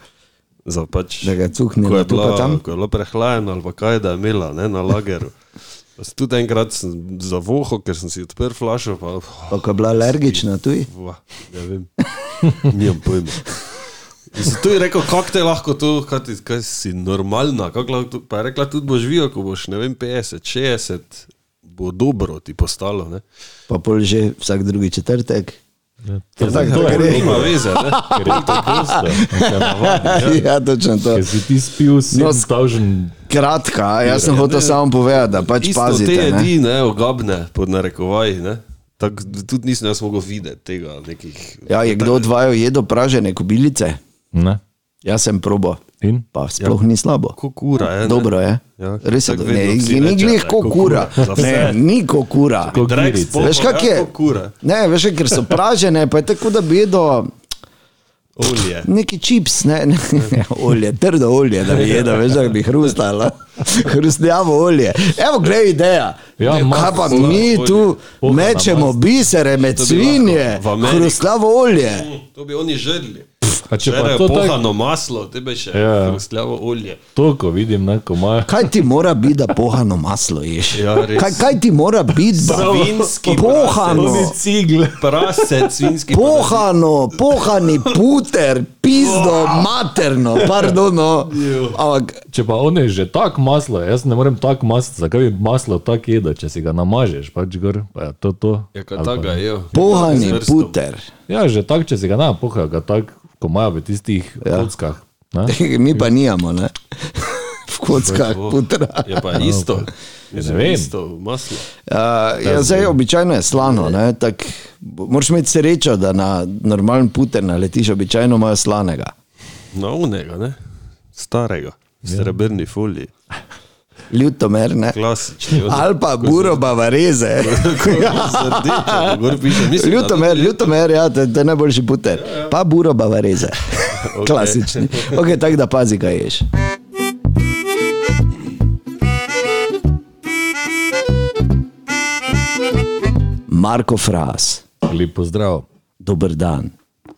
[SPEAKER 4] Za pač,
[SPEAKER 3] Da ga cuhnemo
[SPEAKER 4] ko je
[SPEAKER 3] tu pa
[SPEAKER 4] bila,
[SPEAKER 3] tam.
[SPEAKER 4] ko je bila prehlajena ali pa kaj, da je imela ne, na lageru. Pa sem Tudi enkrat sem zavohal, ker sem si odprl flašo. Pa,
[SPEAKER 3] Pa ko je bila alergična tuji.
[SPEAKER 4] Va, ne vem, nimam pojma. In Zato je rekel, kako te lahko to, kaj, ti, kaj si normalna, kako lahko to. Pa je rekla, tudi boš živel, ko boš, ne vem, 50, 60, bo dobro ti postalo. Ne?
[SPEAKER 3] Pa pol že vsak drugi četrtek.
[SPEAKER 2] To,
[SPEAKER 3] Tako, tako
[SPEAKER 2] je
[SPEAKER 3] gre.
[SPEAKER 2] bilo,
[SPEAKER 4] Nima veze, ne?
[SPEAKER 3] Pač
[SPEAKER 2] ker je to gosto. ker navadi,
[SPEAKER 3] Ja, točno to.
[SPEAKER 2] Ker si ti spil
[SPEAKER 3] No,
[SPEAKER 2] 7000
[SPEAKER 3] Kratka, a jaz sem hotel samo povedati, da pač
[SPEAKER 4] Isto te
[SPEAKER 3] pazite. ne.
[SPEAKER 4] jedi, ne, ogabne, pod narekovaji, ne. Tako tudi nisem jaz mogel videti tega nekih.
[SPEAKER 3] Ja, je kdo od vaju jedel pražene kobilice?
[SPEAKER 2] Ne.
[SPEAKER 3] Jaz sem probo.
[SPEAKER 2] In?
[SPEAKER 3] Pa sploh ni slabo.
[SPEAKER 4] Kokura, je. ne.
[SPEAKER 3] Dobro je.
[SPEAKER 4] Ja,
[SPEAKER 3] Res je,
[SPEAKER 4] tako
[SPEAKER 3] dobro. ne,
[SPEAKER 4] vedno vsi
[SPEAKER 3] ni
[SPEAKER 4] rečejo,
[SPEAKER 3] glih
[SPEAKER 4] ne,
[SPEAKER 3] kokura.
[SPEAKER 4] kokura. Za vse.
[SPEAKER 3] Ne, ni kokura.
[SPEAKER 2] Ko-
[SPEAKER 4] Drag
[SPEAKER 2] Girice.
[SPEAKER 4] spoko,
[SPEAKER 3] Veš, kak
[SPEAKER 4] ja,
[SPEAKER 3] je?
[SPEAKER 4] Kokura,
[SPEAKER 3] Ne, veš, ker so pražene, pa je tako, da bi jedel
[SPEAKER 4] olje.
[SPEAKER 3] neki čips, ne, ne, olje, trdo olje, da bi jedel, veš, da bi hrustalo. Hrustljavo olje. Evo, glej, ideja.
[SPEAKER 2] Ja,
[SPEAKER 3] Kaj pa
[SPEAKER 2] maslo,
[SPEAKER 3] mi
[SPEAKER 4] olje.
[SPEAKER 3] tu
[SPEAKER 2] Oh,
[SPEAKER 3] mečemo bisere med
[SPEAKER 4] To bi lahko
[SPEAKER 3] svinje,
[SPEAKER 4] v Ameriki.
[SPEAKER 3] hrustljavo olje.
[SPEAKER 4] To bi oni žrli.
[SPEAKER 2] A če pa
[SPEAKER 4] Žerejo
[SPEAKER 2] to tako,
[SPEAKER 4] pohano maslo, tebe še
[SPEAKER 2] Ja.
[SPEAKER 4] hrustljavo olje.
[SPEAKER 2] to, ko vidim, ne, ko imajo.
[SPEAKER 3] Kaj ti mora biti, da pohano maslo ješ?
[SPEAKER 4] Ja, res.
[SPEAKER 3] kaj, kaj ti mora biti, da
[SPEAKER 4] Svinjski
[SPEAKER 3] pohano?
[SPEAKER 4] prasec.
[SPEAKER 2] cigle.
[SPEAKER 4] Prasec, svinjski prasec.
[SPEAKER 3] Pohano, pohani puter, pizdo, materno, pardon. no. Ampak
[SPEAKER 2] Če pa on je že tako maslo, jaz ne morem tako maslo, zakaj bi maslo tako jedel, če si ga namažeš, pač gor, pa je to to.
[SPEAKER 4] Ja,
[SPEAKER 2] Ali
[SPEAKER 4] kaj
[SPEAKER 2] pa-
[SPEAKER 4] takega, jo.
[SPEAKER 3] pohani puter.
[SPEAKER 2] Ja, že tako, če si ga ne, poha ga tako, ko imajo v tistih ja. kockah. ne.
[SPEAKER 3] Mi pa nijamo, ne? V kockah putra.
[SPEAKER 4] Je pa isto.
[SPEAKER 2] Ja,
[SPEAKER 4] Mislim,
[SPEAKER 2] vem.
[SPEAKER 4] Isto maslo.
[SPEAKER 3] Uh, ja, zdaj, običajno je slano, ne, tak, moraš imeti srečo, da na normalen puter naletiš, običajno imajo slanega.
[SPEAKER 4] No, unega, ne? Starega.
[SPEAKER 2] Ja.
[SPEAKER 4] Srebrni foliji.
[SPEAKER 3] Ljutomer, ne?
[SPEAKER 4] Klasični. ono,
[SPEAKER 3] Ali pa buro bavareze.
[SPEAKER 4] z rdečo, ja. gor piše. Mislim, da Ja,
[SPEAKER 3] Ljutomer, ljutomer, ja, to je to je najboljši puter. Pa buro bavareze.
[SPEAKER 4] Okej.
[SPEAKER 3] Klasični. Ok, tako da pazi, kaj ješ. Marko Fras,
[SPEAKER 2] Ali pozdrav,
[SPEAKER 3] dober dan.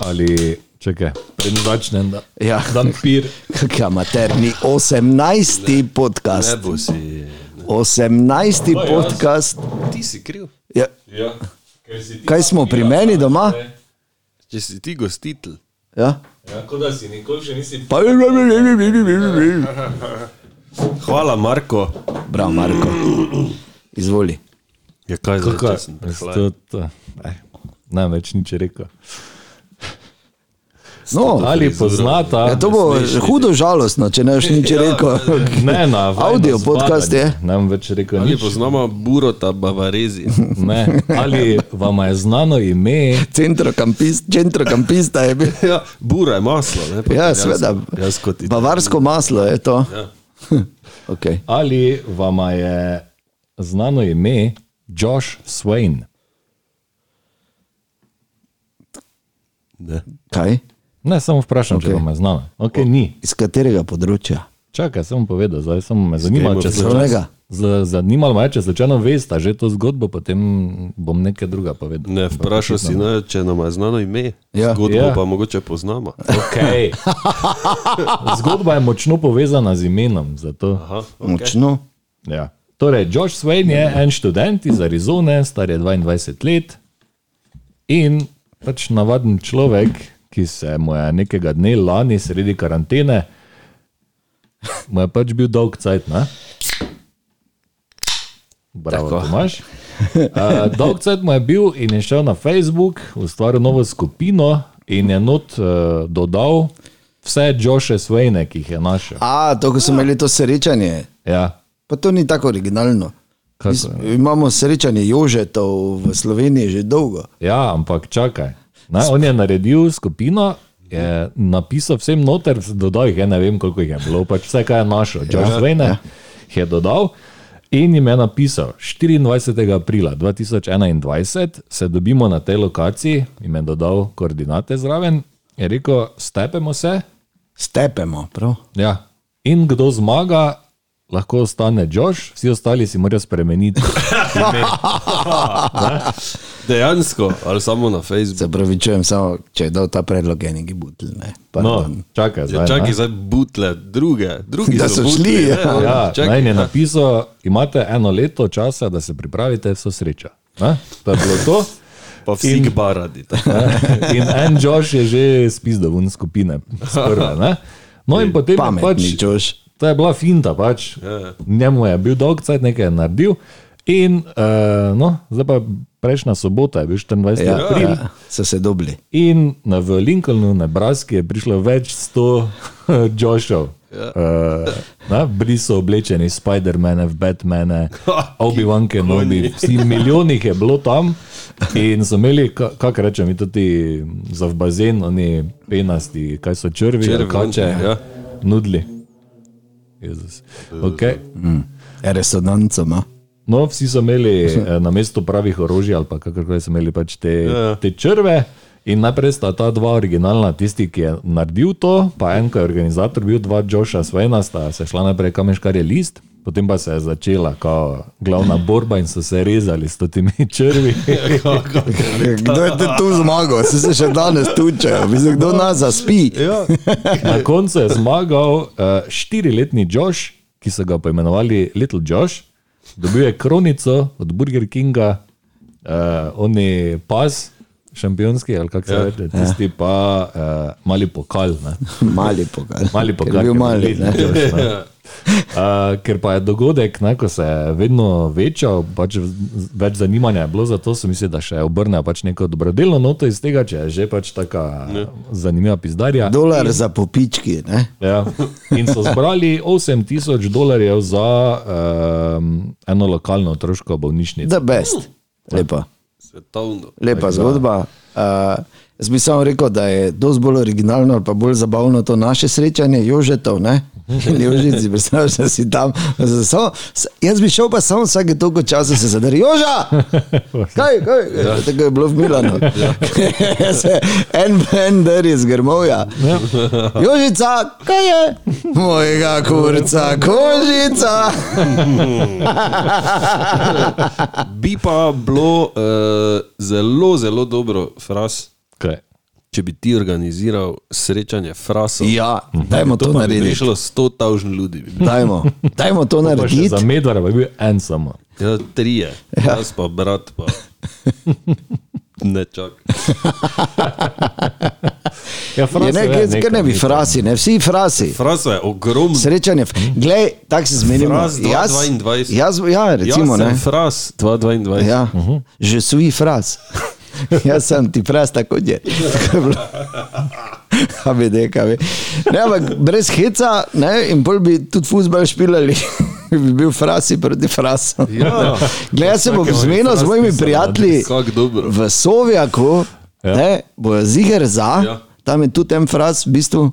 [SPEAKER 2] ali čekaj, preden začnem, da
[SPEAKER 3] Ja.
[SPEAKER 2] dan pir.
[SPEAKER 3] Kak je amaterni 18.
[SPEAKER 4] Ne
[SPEAKER 3] podcast.
[SPEAKER 4] bo si. ja.
[SPEAKER 3] 18.
[SPEAKER 2] jaz.
[SPEAKER 3] podcast.
[SPEAKER 4] Ti si kriv.
[SPEAKER 3] Ja,
[SPEAKER 4] Ja.
[SPEAKER 3] kaj smo pri meni doma?
[SPEAKER 4] Če si ti gostitelj.
[SPEAKER 3] Ja.
[SPEAKER 2] Ja, kot da si nikoli še nisi.
[SPEAKER 3] Pa...
[SPEAKER 4] Hvala, Marko.
[SPEAKER 3] Bravo, Marko. Izvoli.
[SPEAKER 4] Ja, kaj zdaj,
[SPEAKER 2] Kako
[SPEAKER 4] če
[SPEAKER 2] je?
[SPEAKER 4] sem
[SPEAKER 2] To- to- eh, Ne, več nič je rekel.
[SPEAKER 3] No,
[SPEAKER 2] Ali poznata?
[SPEAKER 3] Ja, to bo hudo žalostno, če ne boš nič
[SPEAKER 4] Ja,
[SPEAKER 3] rekel.
[SPEAKER 2] Ne, na vajno
[SPEAKER 3] Avdio
[SPEAKER 2] zbadanje.
[SPEAKER 3] podcast je.
[SPEAKER 2] Ne, bom več rekel
[SPEAKER 4] Ali
[SPEAKER 2] nič.
[SPEAKER 4] poznamo Burota Bavarezi?
[SPEAKER 2] Ne. Ali vam je znano ime?
[SPEAKER 3] Centrokampist, centrokampista je bil.
[SPEAKER 4] Ja, bura je maslo. Ne, pa
[SPEAKER 3] Ja,
[SPEAKER 4] jaz-
[SPEAKER 3] sveda.
[SPEAKER 4] Jaz kot ti.
[SPEAKER 3] Bavarsko maslo je to.
[SPEAKER 4] Ja.
[SPEAKER 3] Okay.
[SPEAKER 2] Ali vam je znano ime Josh Swain?
[SPEAKER 4] Ne.
[SPEAKER 3] Kaj?
[SPEAKER 2] Ne, samo vprašam, okay. če
[SPEAKER 3] Okej.
[SPEAKER 2] vam je znano. Ok, ni.
[SPEAKER 3] Iz katerega področja?
[SPEAKER 2] Čakaj, sem povedal, zdaj samo me zanima,
[SPEAKER 4] Game
[SPEAKER 2] če
[SPEAKER 4] of
[SPEAKER 2] se
[SPEAKER 3] Thrones.
[SPEAKER 2] Z, zanimalo me je, če slučajno veste že to zgodbo, potem bom nekaj druga povedal.
[SPEAKER 4] ne, vprašal si, ne, če nam je znano ime.
[SPEAKER 3] Ja.
[SPEAKER 4] Zgodbo
[SPEAKER 2] Ja.
[SPEAKER 4] pa mogoče poznamo.
[SPEAKER 2] Okay. Zgodba je močno povezana z imenom. zato-
[SPEAKER 4] Aha, okay.
[SPEAKER 3] Močno.
[SPEAKER 2] Ja. Torej, George Swain je en študent iz Arizone, star je 22 let in pač navaden človek, ki se mu je nekega dne lani sredi karantene, mu je pač bil dolg cajt, ne? Bravo, Tomaš. Uh, dolg cajt mu je bil in je šel na Facebook, ustvaril novo skupino in je not uh, dodal vse Joše Swaine, ki jih je našel.
[SPEAKER 3] A, to, ko smo imeli to srečanje,
[SPEAKER 2] Ja.
[SPEAKER 3] pa to ni tako originalno.
[SPEAKER 2] Kako
[SPEAKER 3] Mis- Imamo srečanje Jožetov v Sloveniji že dolgo.
[SPEAKER 2] Ja, ampak čakaj. Ne, on je naredil skupino, je napisal vsem noter, dodal jih je, ne vem koliko jih je bilo, pač vse, kar je našel, George Wayne jih je dodal. In jim je napisal, 24. aprila 2021 se dobimo na tej lokaciji, jim je dodal koordinate zraven, je rekel, stepemo se,
[SPEAKER 3] Stepemo, prav.
[SPEAKER 2] ja. in kdo zmaga, lahko ostane Josh, vsi ostali si morajo spremeniti.
[SPEAKER 4] Dejansko, ali samo na
[SPEAKER 3] Se
[SPEAKER 4] Facebooku.
[SPEAKER 3] pravi, čujem samo, če je dal ta predlog enega butl. Ne?
[SPEAKER 2] No,
[SPEAKER 3] Pardon.
[SPEAKER 2] čakaj, zdaj,
[SPEAKER 4] Ja, čakaj,
[SPEAKER 2] ne.
[SPEAKER 4] zdaj butle, druge, drugi
[SPEAKER 3] Da so
[SPEAKER 4] butli,
[SPEAKER 3] šli,
[SPEAKER 4] ne,
[SPEAKER 3] ja.
[SPEAKER 4] on-
[SPEAKER 2] Ja,
[SPEAKER 4] čakaj,
[SPEAKER 2] Najn je
[SPEAKER 4] ja.
[SPEAKER 2] napisal, imate eno leto časa, da se pripravite, vso sreča. Ne? To je bilo to.
[SPEAKER 4] Pa vsi
[SPEAKER 2] In-
[SPEAKER 4] gbaradi.
[SPEAKER 2] Ne? In en Josh je že spisal ven skupine. Sprve, ne? no in potem je
[SPEAKER 3] Pametni,
[SPEAKER 2] pač,
[SPEAKER 3] čuš.
[SPEAKER 2] to je bila finta, pač.
[SPEAKER 4] Ja.
[SPEAKER 2] njemu je bil dolg cajt, nekaj je naredil. In uh, no, zdaj pa prejšnja sobota je bil 24.
[SPEAKER 3] Ja,
[SPEAKER 2] april.
[SPEAKER 3] ja, so se dobili.
[SPEAKER 2] In na, v Lincolnu, na Braski, je prišlo več sto Joshov. Ja. Uh, bili so oblečeni v Spider-Mane, v Batmane, Obi-Wan Kenobi, vsi milijoni jih je bilo tam in so imeli, ka- kako rečem, mi tudi za v bazen, oni penasti, kaj so črvi,
[SPEAKER 4] Črvi,
[SPEAKER 2] črvi kače,
[SPEAKER 4] ja.
[SPEAKER 2] ja. nudli. Jezus. Okay.
[SPEAKER 3] Resonanco ima.
[SPEAKER 2] No, vsi so imeli eh, na mestu pravih orožij ali pa kakorkoli so imeli pač te, te črve. In najprej sta ta dva originalna, tisti, ki je naredil to, pa en, ki je organizator bil, dva Joša Svena, sta se šla najprej kameškar je list, potem pa se je začela kao, glavna borba in so se rezali s temi črvi.
[SPEAKER 3] Kdo je te tu zmagal? Se, se še danes tučejo. Mislim, kdo nas zaspi?
[SPEAKER 2] Na koncu je zmagal uh, štiriletni Josh, ki so ga poimenovali Little Josh. Dobil je kronico od Burger Kinga, uh, oni pas, šampionski ali kako se ja. reče, tisti pa uh, mali pokal. Ne?
[SPEAKER 3] Mali pokal.
[SPEAKER 2] Mali
[SPEAKER 3] Ker je
[SPEAKER 2] pokal.
[SPEAKER 3] Bil
[SPEAKER 2] ker
[SPEAKER 3] mali,
[SPEAKER 2] Little
[SPEAKER 3] ne?
[SPEAKER 2] Josh, ne. Uh, ker pa je dogodek, ne, ko se je vedno večal, pač v- z- več zanimanja je bilo za to, sem mislil, da še obrnejo pač neko dobrodelno noto iz tega, če je že pač taka
[SPEAKER 3] Ja.
[SPEAKER 2] zanimiva pizdarja.
[SPEAKER 3] Dolar za popički, ne?
[SPEAKER 2] Ja. In so zbrali 8000 dolarjev za um, eno lokalno otroško bolnišnico.
[SPEAKER 3] The best. Lepa.
[SPEAKER 4] Svetovno.
[SPEAKER 3] Lepa zgodba. Uh, jaz bi samo rekel, da je dosti bolj originalno ali pa bolj zabavno to naše srečanje, Jožetov, ne? Jožici, predstavljaš, da si tam. Samo, s- jaz bi šel pa samo vsake toliko časa se zadar. Joža! Kaj, kaj? Ja. Tako je bilo v Milano. Se en en der je zgrmovja. Jožica, kaj je? Mojega kurca, kožica.
[SPEAKER 4] Bi pa bilo uh, zelo, zelo dobro, fras,
[SPEAKER 2] Kaj?
[SPEAKER 4] če bi ti organiziral srečanje frasov.
[SPEAKER 3] Ja, dajmo to, to
[SPEAKER 4] Mhm. Bi
[SPEAKER 3] narediti.
[SPEAKER 4] prišlo 100 tavžn ljudi. bi bilo.
[SPEAKER 3] Dajmo, dajmo to
[SPEAKER 2] Pa še
[SPEAKER 3] narediti.
[SPEAKER 2] Za medvara pa je bil en samo.
[SPEAKER 4] Ja, trije, jaz pa brat pa. Ne čakaj.
[SPEAKER 2] Ja,
[SPEAKER 3] Je ne, gre- ker ne bi frasi, ne vsi frasi.
[SPEAKER 4] Frasa je ogromna.
[SPEAKER 3] Srečanje, glej, tako se zmenimo.
[SPEAKER 4] Fras 22.
[SPEAKER 3] jaz, ja, recimo,
[SPEAKER 4] Jaz
[SPEAKER 3] ne.
[SPEAKER 4] sem fras 22.
[SPEAKER 3] Ja, že sui fras. Jaz sem ti fras tako je. Tako je bilo. HBD, KV. Ne, ampak brez heca ne, in bolj bi tudi fuzbol špilali. bi bil frasi proti frasu.
[SPEAKER 4] Ja.
[SPEAKER 3] Glej, jaz se bom zmenil z mojimi prijatelji.
[SPEAKER 4] Kako dobro.
[SPEAKER 3] v Sovjaku, ja. ne, bojo ziger za, ja.
[SPEAKER 4] Ja.
[SPEAKER 3] tam je tudi en fraz, v bistvu,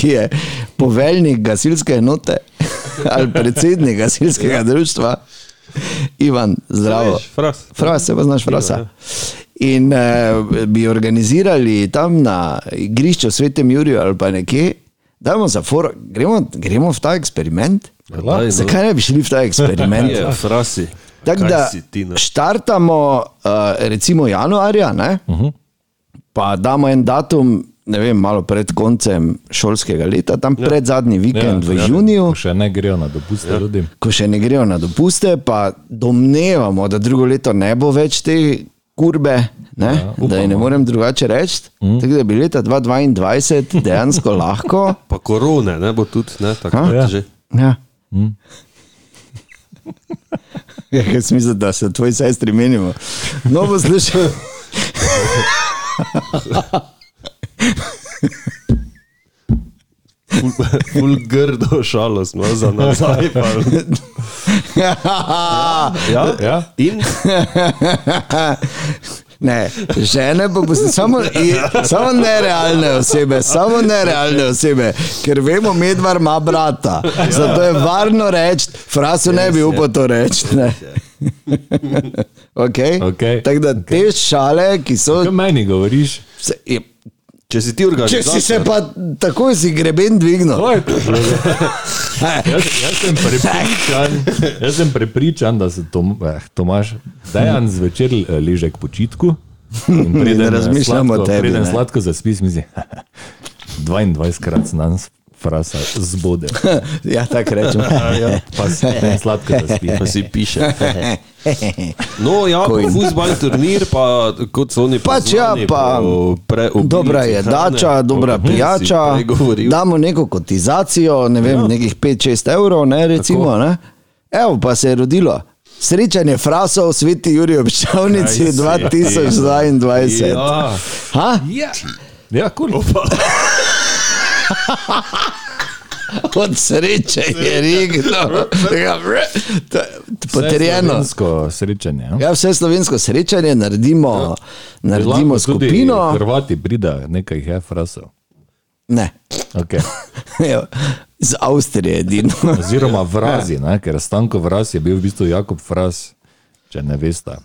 [SPEAKER 3] ki je poveljnik gasilske enote ali predsednik gasilskega ja. društva, Ivan, zdravo.
[SPEAKER 4] Veš, ja. Fras.
[SPEAKER 3] Fras, se pa znaš, frasa. In uh, bi organizirali tam na igrišču v Svetem Juriju ali pa nekje, dajmo za foro, gremo, gremo v ta eksperiment.
[SPEAKER 4] Daj, no. Ja.
[SPEAKER 3] Zakaj ne bi šli v ta eksperiment?
[SPEAKER 4] Je, frasi.
[SPEAKER 3] Tako
[SPEAKER 4] Kaj
[SPEAKER 3] Ja. da
[SPEAKER 4] si ti na-
[SPEAKER 3] štartamo, uh, recimo januarja, ne? Uh -huh. pa damo en datum, ne vem, malo pred koncem šolskega leta, tam ja. pred zadnji vikend ja, v ja. juniju,
[SPEAKER 2] Še ne grejo na dopuste ja. ljudi.
[SPEAKER 3] ko še ne grejo na dopuste, pa domnevamo, da drugo leto ne bo več te kurbe, ne? Ja, da je ne morem drugače reči. Mm. Tako da bi leta 2022 dejansko lahko.
[SPEAKER 4] Pa korone, ne bo tudi, ne, tako
[SPEAKER 3] Ha?
[SPEAKER 4] ja. že.
[SPEAKER 3] Ja. Mm. Ja, jaz mislim, da se tvoji sestri menimo. No, poslušaj.
[SPEAKER 4] Ful, ful grdo šalo smo za nazaj. Pa. Ja,
[SPEAKER 2] Ja?
[SPEAKER 4] In
[SPEAKER 3] Ne, žene pa boste samo, i- samo nerealne osebe, samo nerealne osebe, ker vemo, medvar ima brata. Zato je varno reči, frasu ne bi upal to reči. ne. Okay?
[SPEAKER 2] Okej.
[SPEAKER 3] Tako da te šale, ki so
[SPEAKER 2] Kaj meni govoriš?
[SPEAKER 3] Vse- je-
[SPEAKER 4] Če si ti
[SPEAKER 3] Če
[SPEAKER 4] organizator,
[SPEAKER 3] si se pa tako si greben dvignil.
[SPEAKER 2] To je prišlo. Jaz, jaz, sem prepričan, jaz sem prepričan, da se Tom, eh, Tomaš dejan zvečer eh, leže k počitku. in preden,
[SPEAKER 3] Ne
[SPEAKER 2] eh,
[SPEAKER 3] razmišljamo o
[SPEAKER 2] sladko-
[SPEAKER 3] tebi,
[SPEAKER 2] Preden
[SPEAKER 3] ne.
[SPEAKER 2] sladko zaspi, zmizi. 22krat znam frasa zbode.
[SPEAKER 3] Ja, tako rečem.
[SPEAKER 2] Pa se sladko zaspi.
[SPEAKER 4] pa si piše. No, ja, fusbal turnir, pa kot so oni
[SPEAKER 3] Pač ja,
[SPEAKER 4] poznani
[SPEAKER 3] pa
[SPEAKER 4] po pre- obilici
[SPEAKER 3] Dobra je
[SPEAKER 4] hrane,
[SPEAKER 3] dača, dobra
[SPEAKER 4] o kateri si
[SPEAKER 3] pijača,
[SPEAKER 4] prej govoril.
[SPEAKER 3] damo neko kotizacijo, ne vem, nekih 5-6 evrov, ne, recimo. Ne? Evo pa se je rodilo. Srečanje frasov v sveti Juri občavnici
[SPEAKER 4] Kaj si,
[SPEAKER 3] 2022.
[SPEAKER 4] Ja,
[SPEAKER 3] Ha?
[SPEAKER 2] Ja, ja kul. Cool.
[SPEAKER 3] Od sreče je rigno. Ja, Potrjeno.
[SPEAKER 2] Slovensko srečanje. Ja.
[SPEAKER 3] Ja, vse slovensko srečanje naredimo,
[SPEAKER 2] Lahko
[SPEAKER 3] naredimo
[SPEAKER 2] tudi
[SPEAKER 3] skupino.
[SPEAKER 2] Hrvati prida nekaj hefrasov.
[SPEAKER 3] Ne,
[SPEAKER 2] Okay.
[SPEAKER 3] Evo, z Avstrije edino.
[SPEAKER 2] Oziroma vrazi, ne? ker Stanko vraz je bil v bistvu Jakob Fraz, če ne veste.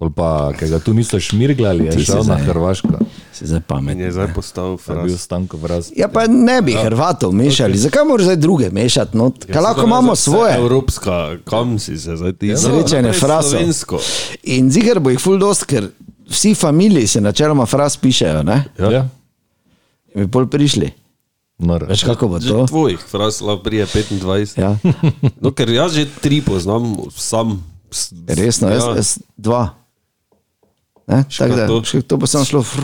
[SPEAKER 2] Ali pa, ker ga tu niso šmirgljali, je
[SPEAKER 3] Ti si
[SPEAKER 2] šel na
[SPEAKER 3] zdaj-
[SPEAKER 2] Hrvaško.
[SPEAKER 3] Se zapameti.
[SPEAKER 4] je zdaj postal
[SPEAKER 2] Je bil
[SPEAKER 4] fraz.
[SPEAKER 2] Stanko vraz.
[SPEAKER 3] Ja, pa ne bi Hrvatov mešali, okay. zakaj moraš zdaj druge mešati? No, ja, lahko imamo svoje. Ja,
[SPEAKER 4] Evropska, kam si se zdaj ti?
[SPEAKER 3] Srečanje
[SPEAKER 4] Naprej
[SPEAKER 3] frasov.
[SPEAKER 4] Slovensko.
[SPEAKER 3] In zigar bo jih full dost, ker vsi familiji se načeloma fraz pišejo, ne?
[SPEAKER 2] Ja. ja.
[SPEAKER 3] Bi pol prišli.
[SPEAKER 2] Noro.
[SPEAKER 3] Veš kako bo to?
[SPEAKER 4] Že tvojih fraz lahko prije 25.
[SPEAKER 3] Ja.
[SPEAKER 4] No, ker jaz že tri poznam, sam. s-
[SPEAKER 3] Resno, jaz,
[SPEAKER 4] Ja,
[SPEAKER 3] jaz dva. Ne? Tako da,
[SPEAKER 4] to.
[SPEAKER 3] še to bo samo šlo. Fr.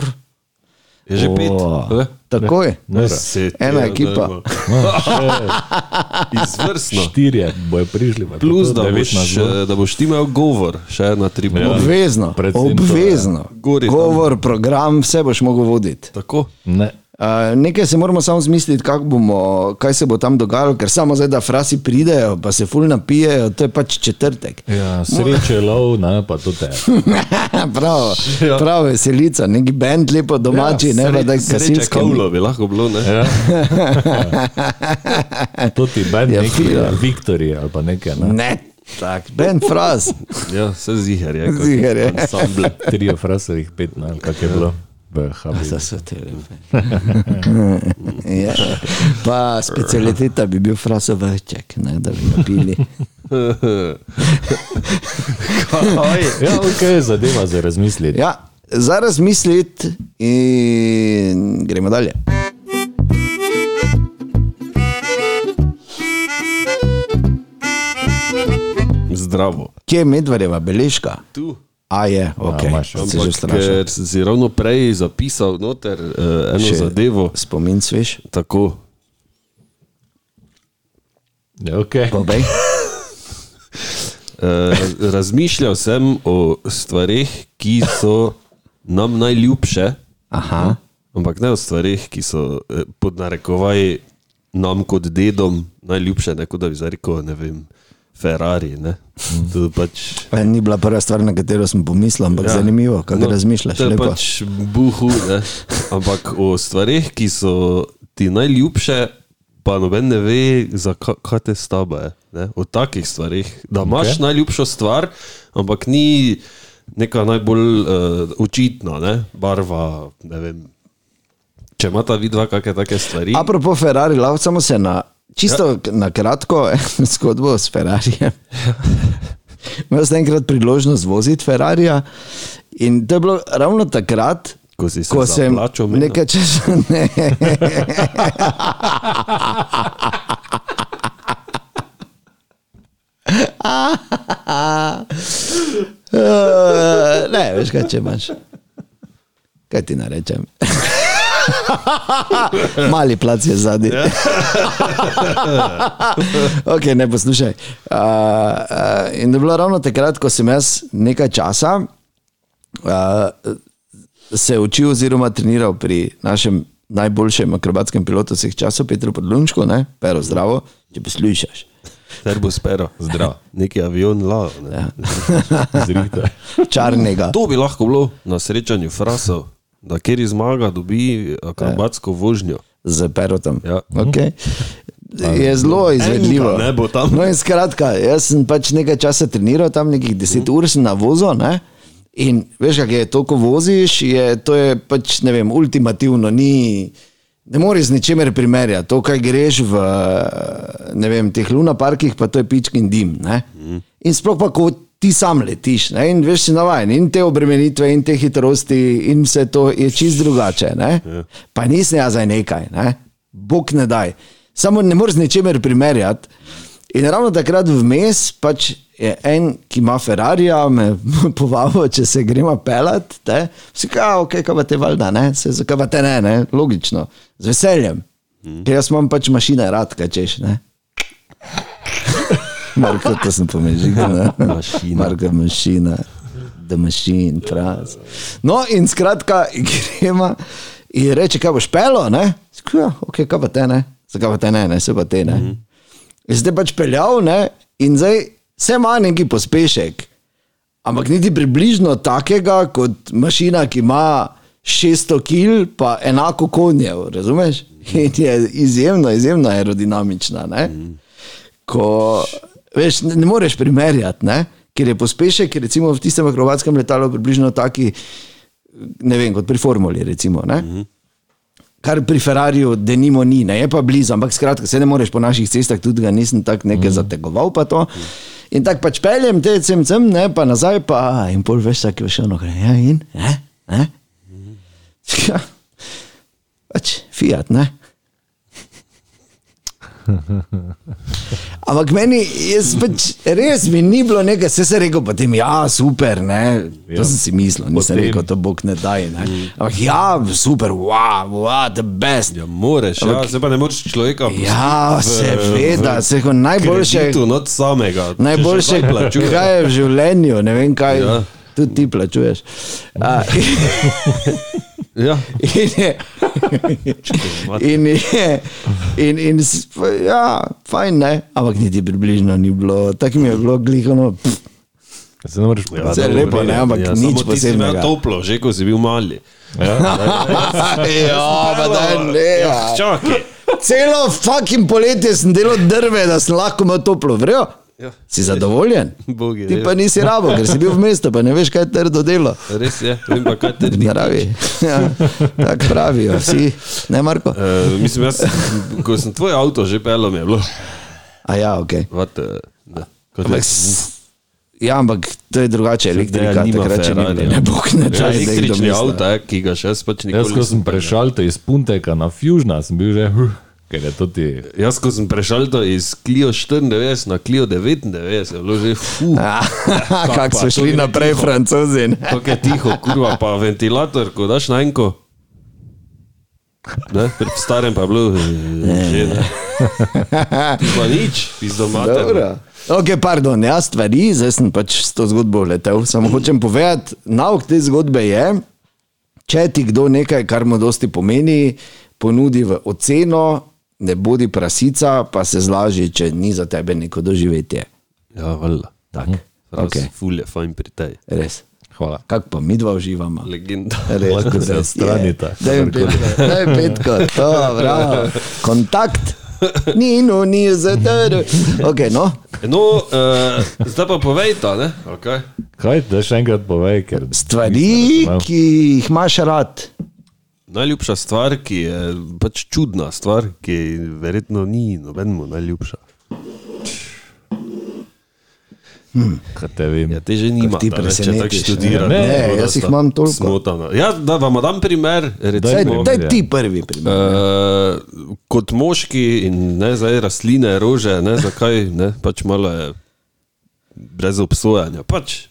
[SPEAKER 4] je že pet.
[SPEAKER 3] O,
[SPEAKER 4] ne?
[SPEAKER 3] Takoj.
[SPEAKER 2] Noro.
[SPEAKER 4] Deset,
[SPEAKER 3] Ena
[SPEAKER 4] ja,
[SPEAKER 3] ekipa.
[SPEAKER 4] dajmo. Izvrstno.
[SPEAKER 2] Štirje bojo prišli. pa je
[SPEAKER 4] Plus,
[SPEAKER 2] to
[SPEAKER 4] da boš,
[SPEAKER 2] 19 bilo.
[SPEAKER 4] eh, da boš ti imel govor, še ena tri minute.
[SPEAKER 3] Obvezno.
[SPEAKER 2] Predvsem to, ja.
[SPEAKER 3] Obvezno.
[SPEAKER 4] Gori tam.
[SPEAKER 3] Govor, program, vse boš mogel voditi.
[SPEAKER 4] Tako.
[SPEAKER 2] Ne.
[SPEAKER 3] Uh, nekaj se moramo samo zmisliti, kako bomo, kaj se bo tam dogajalo, ker samo zdaj, da frasi pridejo, pa se ful napijejo, to je pač četrtek.
[SPEAKER 2] Ja, sreče je lov, ne, pa to te.
[SPEAKER 3] prav, prav veselica, neki bend lepo domači, ja, ne pa da
[SPEAKER 4] Ja. Sreče
[SPEAKER 3] gasilski.
[SPEAKER 4] Kavlo bi lahko bilo, ne? Ja.
[SPEAKER 2] To ti ben
[SPEAKER 3] Ja,
[SPEAKER 2] neki
[SPEAKER 3] fira.
[SPEAKER 2] Viktorij ali pa nekaj. Ne.
[SPEAKER 3] Ne, tak, bend fraz.
[SPEAKER 4] ja, se ziher je. kot
[SPEAKER 3] Ziher je.
[SPEAKER 4] ansambel.
[SPEAKER 2] Trio frasovih pet, ne, kak je bilo. v Habibu.
[SPEAKER 3] Za vse te lepe. ja. Pa specialiteta bi bil frasovček, ne, da bi ga pili.
[SPEAKER 4] Kaj?
[SPEAKER 2] Ja, ok, zadeva za razmisliti.
[SPEAKER 3] Ja, za razmisliti in gremo dalje.
[SPEAKER 4] Zdravo.
[SPEAKER 3] Kje je medvarjeva beležka?
[SPEAKER 4] Tu.
[SPEAKER 3] A je, ok,
[SPEAKER 2] imaš,
[SPEAKER 3] se že
[SPEAKER 4] Ampak,
[SPEAKER 3] vprašal.
[SPEAKER 4] ker si si ravno prej zapisal noter eh, eno
[SPEAKER 3] Še-
[SPEAKER 4] zadevo,
[SPEAKER 3] Spomin sveš,
[SPEAKER 4] tako.
[SPEAKER 2] Ja, okay.
[SPEAKER 3] pobej.
[SPEAKER 4] Eh, razmišljal sem o stvarih, ki so nam najljubše,
[SPEAKER 3] Aha,
[SPEAKER 4] ampak ne o stvarih, ki so eh, pod narekovaji nam kot dedom najljubše, ne kot da bi zdaj rekel, ne vem, Ferrari. Ne? To pač,
[SPEAKER 3] Eh, ni bila prva stvar, na katero sem pomislil, ampak ja. zanimivo, kako no, razmišljaš.
[SPEAKER 4] To je
[SPEAKER 3] lepo.
[SPEAKER 4] pač buhu, ne? ampak o stvarih, ki so ti najljubše, pa noben ne ve, zakaj kaj te staba je. Ne? O takih stvarih, da imaš
[SPEAKER 2] Ok.
[SPEAKER 4] okay. najljubšo stvar, ampak ni neka najbolj uh, očitna, ne? barva, ne vem. Če imata vidva kakšne take stvari,
[SPEAKER 3] Apropo Ferrari, lahko samo se na čisto ja. na kratko eno zgodbo s Ferrarijem. Imel sem enkrat priložnost voziti Ferrarija in to je bilo ravno takrat,
[SPEAKER 4] ko si se
[SPEAKER 3] ko sem
[SPEAKER 4] zaplačal, meni,
[SPEAKER 3] nekaj časa. Ne. Eh, ne, veš kaj, če imaš. Kaj ti narečem? Mali plac je zadnji.
[SPEAKER 4] Ja.
[SPEAKER 3] ok, ne poslušaj. Uh, uh, in to je bilo ravno takrat, ko sem jaz nekaj časa uh, se učil oziroma treniral pri našem najboljšem akrobatskem pilotu vseh časov, Petru Podlunčku, ne, pero zdravo, če poslušaš.
[SPEAKER 4] ter bo spero, zdrav, neki avion lao. Ne? Ja.
[SPEAKER 2] Zrihtaj.
[SPEAKER 3] Čarnega.
[SPEAKER 4] To bi lahko bilo na srečanju frasov, da kjer zmaga, dobi
[SPEAKER 3] Ja.
[SPEAKER 4] akrobatsko vožnjo.
[SPEAKER 3] z perotom.
[SPEAKER 4] Ja.
[SPEAKER 3] Okay. Je zelo izvedljivo.
[SPEAKER 4] ne bo tam. Mhm.
[SPEAKER 3] No in skratka, jaz sem pač nekaj časa treniral, tam nekih 10 ur sem na vozu. Ne? In veš, kaj je to, ko voziš, je, to je pač ne vem, ultimativno, ni, ne moreš z ničemer primerjati. To, kaj greš v ne vem, teh lunaparkih, pa to je pičkin dim. Ne?
[SPEAKER 4] Mhm.
[SPEAKER 3] In sploh pa, ko ti sam letiš ne? in veš, si navaden in te obremenitve, in te hitrosti, in vse to je čist drugače. Ne?
[SPEAKER 4] Ja.
[SPEAKER 3] Pa nisem jaz za nekaj, ne? Bog ne daj. Samo ne moreš z ničemer primerjati. In ravno takrat vmes pač je en, ki ima Ferrarija, me povabil, če se gremo pelat. te. Vsi kao, ok, kaj pa te valjda, ne, se zakaj pa te ne, ne, logično, z veseljem. Ker jaz imam pač mašine rad, kaj češ, ne. Marko, to sem pomežil.
[SPEAKER 4] Mašina.
[SPEAKER 3] Marko, mašina, the machine, tras. No, in skratka, gremo in reče, kaj boš pelo, ne? Skaj, ok, kaj pa te ne, zakaj pa te ne, ne, se pa te ne. In zdaj pač peljal, ne? in zdaj se ima neki pospešek, ampak niti približno takega kot mašina, ki ima 600 kg, pa enako konjev, razumeš? In je izjemno, izjemno aerodinamična. Ne? Ko, veš, ne, ne moreš primerjati, ne? ker je pospešek, recimo v tistem akrobatskem letalu, približno taki, ne vem, kot pri formuli. Recimo, ne? kar pri Ferrariju, da nimo ni, ne je pa blizu, ampak skratka, se ne moreš po naših cestah, tudi ga nisem tako nekaj mm. zategoval. Pa to. in tako pač peljem te sem sem, ne pa nazaj, pa in pol veš, tako je še ono, gre, ja in, ne, ne. Ja, pač Fiat, ne. Ampak meni, jaz pač res mi ni bilo nekaj, vse se rekel, potem ja, super, ne. To sem si mislil, nisem
[SPEAKER 2] Potem.
[SPEAKER 3] rekel, to Bog ne daj. Ne. Ampak ja, super, wow, wow, the best.
[SPEAKER 4] Ja, moreš, ja, se pa ne moreš človeka.
[SPEAKER 3] Ja, seveda, se kot najboljše,
[SPEAKER 4] Tu not samega. Če
[SPEAKER 3] najboljše
[SPEAKER 4] še kaj plačuješ.
[SPEAKER 3] kaj je v življenju, ne vem kaj. Ja.
[SPEAKER 4] Ja.
[SPEAKER 3] Tudi ti plačuješ. A,
[SPEAKER 4] Ja,
[SPEAKER 3] in, je, in, je, in, in, s- pa ja, fajn, ne? ampak niti približno ni bilo, tako mi je bilo glihano. Pff,
[SPEAKER 2] Se ne moreš
[SPEAKER 4] ja,
[SPEAKER 3] Zdaj
[SPEAKER 4] dobro,
[SPEAKER 3] lepo, ne, ampak
[SPEAKER 4] ja,
[SPEAKER 3] nič
[SPEAKER 4] samo ti si imel
[SPEAKER 3] posebnega.
[SPEAKER 4] Toplo, že ko si bil mali.
[SPEAKER 3] ja, pa da ne. Ja.
[SPEAKER 4] Čakaj.
[SPEAKER 3] Celo fucking poletje sem delal drve, da sem lahko imel toplo vrejo.
[SPEAKER 4] Ja.
[SPEAKER 3] Si zadovoljen?
[SPEAKER 4] Bog je
[SPEAKER 3] Ti
[SPEAKER 4] rekel.
[SPEAKER 3] pa nisi rabo, ker si bil v mestu, pa ne veš, kaj je trdo delo.
[SPEAKER 4] Res je, vem pa kaj te
[SPEAKER 3] V naravi. Ja, tako pravijo vsi, ne Marko.
[SPEAKER 4] Uh, mislim, jaz, ko sem tvoj avto že pelil, mi je bilo.
[SPEAKER 3] A ja, ok.
[SPEAKER 4] Vat, ne, kot
[SPEAKER 3] Ampak,
[SPEAKER 4] je-
[SPEAKER 3] s- ja, ampak to je drugače, elektrika,
[SPEAKER 4] Dejan nima
[SPEAKER 3] takrat še ni
[SPEAKER 4] Ferrarija.
[SPEAKER 3] bilo. Ne bo
[SPEAKER 4] Ja,
[SPEAKER 3] knečaj.
[SPEAKER 4] električni avto, eh, ki ga še jaz pač nikoli
[SPEAKER 2] Jaz, ko sem
[SPEAKER 4] nisem pelil.
[SPEAKER 2] prešalil iz Punteka na Fužna, sem bil že, huh, ker je to ti.
[SPEAKER 4] Jaz, ko sem prešel to iz Clio 94 na Clio 99, je bilo že fu.
[SPEAKER 3] Kako so
[SPEAKER 4] pa, to
[SPEAKER 3] šli
[SPEAKER 4] gre
[SPEAKER 3] naprej
[SPEAKER 4] tiho.
[SPEAKER 3] francozi. ne?
[SPEAKER 4] Tako je tiho, kurva, pa ventilator, ko daš na enko. Ne, pri starem pa je bilo eh, že ne. Ti Pa nič, iz doma.
[SPEAKER 3] Dobro. Ok, pardon, jaz stvari, zdaj sem pač s to zgodbo letel. Samo hočem povedati, nauk te zgodbe je, če ti kdo nekaj, kar mu dosti pomeni, ponudi v oceno, ne bodi prasica, pa se zlaži, če ni za tebe neko doživetje.
[SPEAKER 4] Ja, valjda. Tako.
[SPEAKER 3] Okej.
[SPEAKER 4] Okay. Ful je fajn pri tej.
[SPEAKER 3] Res.
[SPEAKER 2] Hvala.
[SPEAKER 3] Kako pa mi dva uživamo.
[SPEAKER 4] Legenda.
[SPEAKER 3] Res,
[SPEAKER 2] Lahko se
[SPEAKER 3] res je.
[SPEAKER 2] odstranita,
[SPEAKER 3] Daj mi petko, daj mi petko, to, bravo. Kontakt. Ni, no, ni, zdaj. Ok, no.
[SPEAKER 4] No, uh, zdaj pa povejta, ne? Okay.
[SPEAKER 2] Kaj ti še enkrat povej, ker
[SPEAKER 3] Stvari, ki jih imaš rad.
[SPEAKER 4] Najljubša stvar, ki je pač čudna stvar, ki verjetno ni nobenemu najljubša.
[SPEAKER 2] kaj te vem.
[SPEAKER 4] Ja, te že nima,
[SPEAKER 3] ti
[SPEAKER 4] če tako
[SPEAKER 3] presenetiš, ne?
[SPEAKER 4] študiraš.
[SPEAKER 2] Ne,
[SPEAKER 4] tako da
[SPEAKER 3] jaz jih
[SPEAKER 4] sta
[SPEAKER 3] imam toliko.
[SPEAKER 4] Smotana. Ja, da vam dam primer.
[SPEAKER 3] Daj,
[SPEAKER 4] Recimo,
[SPEAKER 3] daj ti prvi primer.
[SPEAKER 4] ja. Eh, kot moški in ne zdaj rastline, rože, ne zakaj, ne pač malo je brez obsojanja. Pač.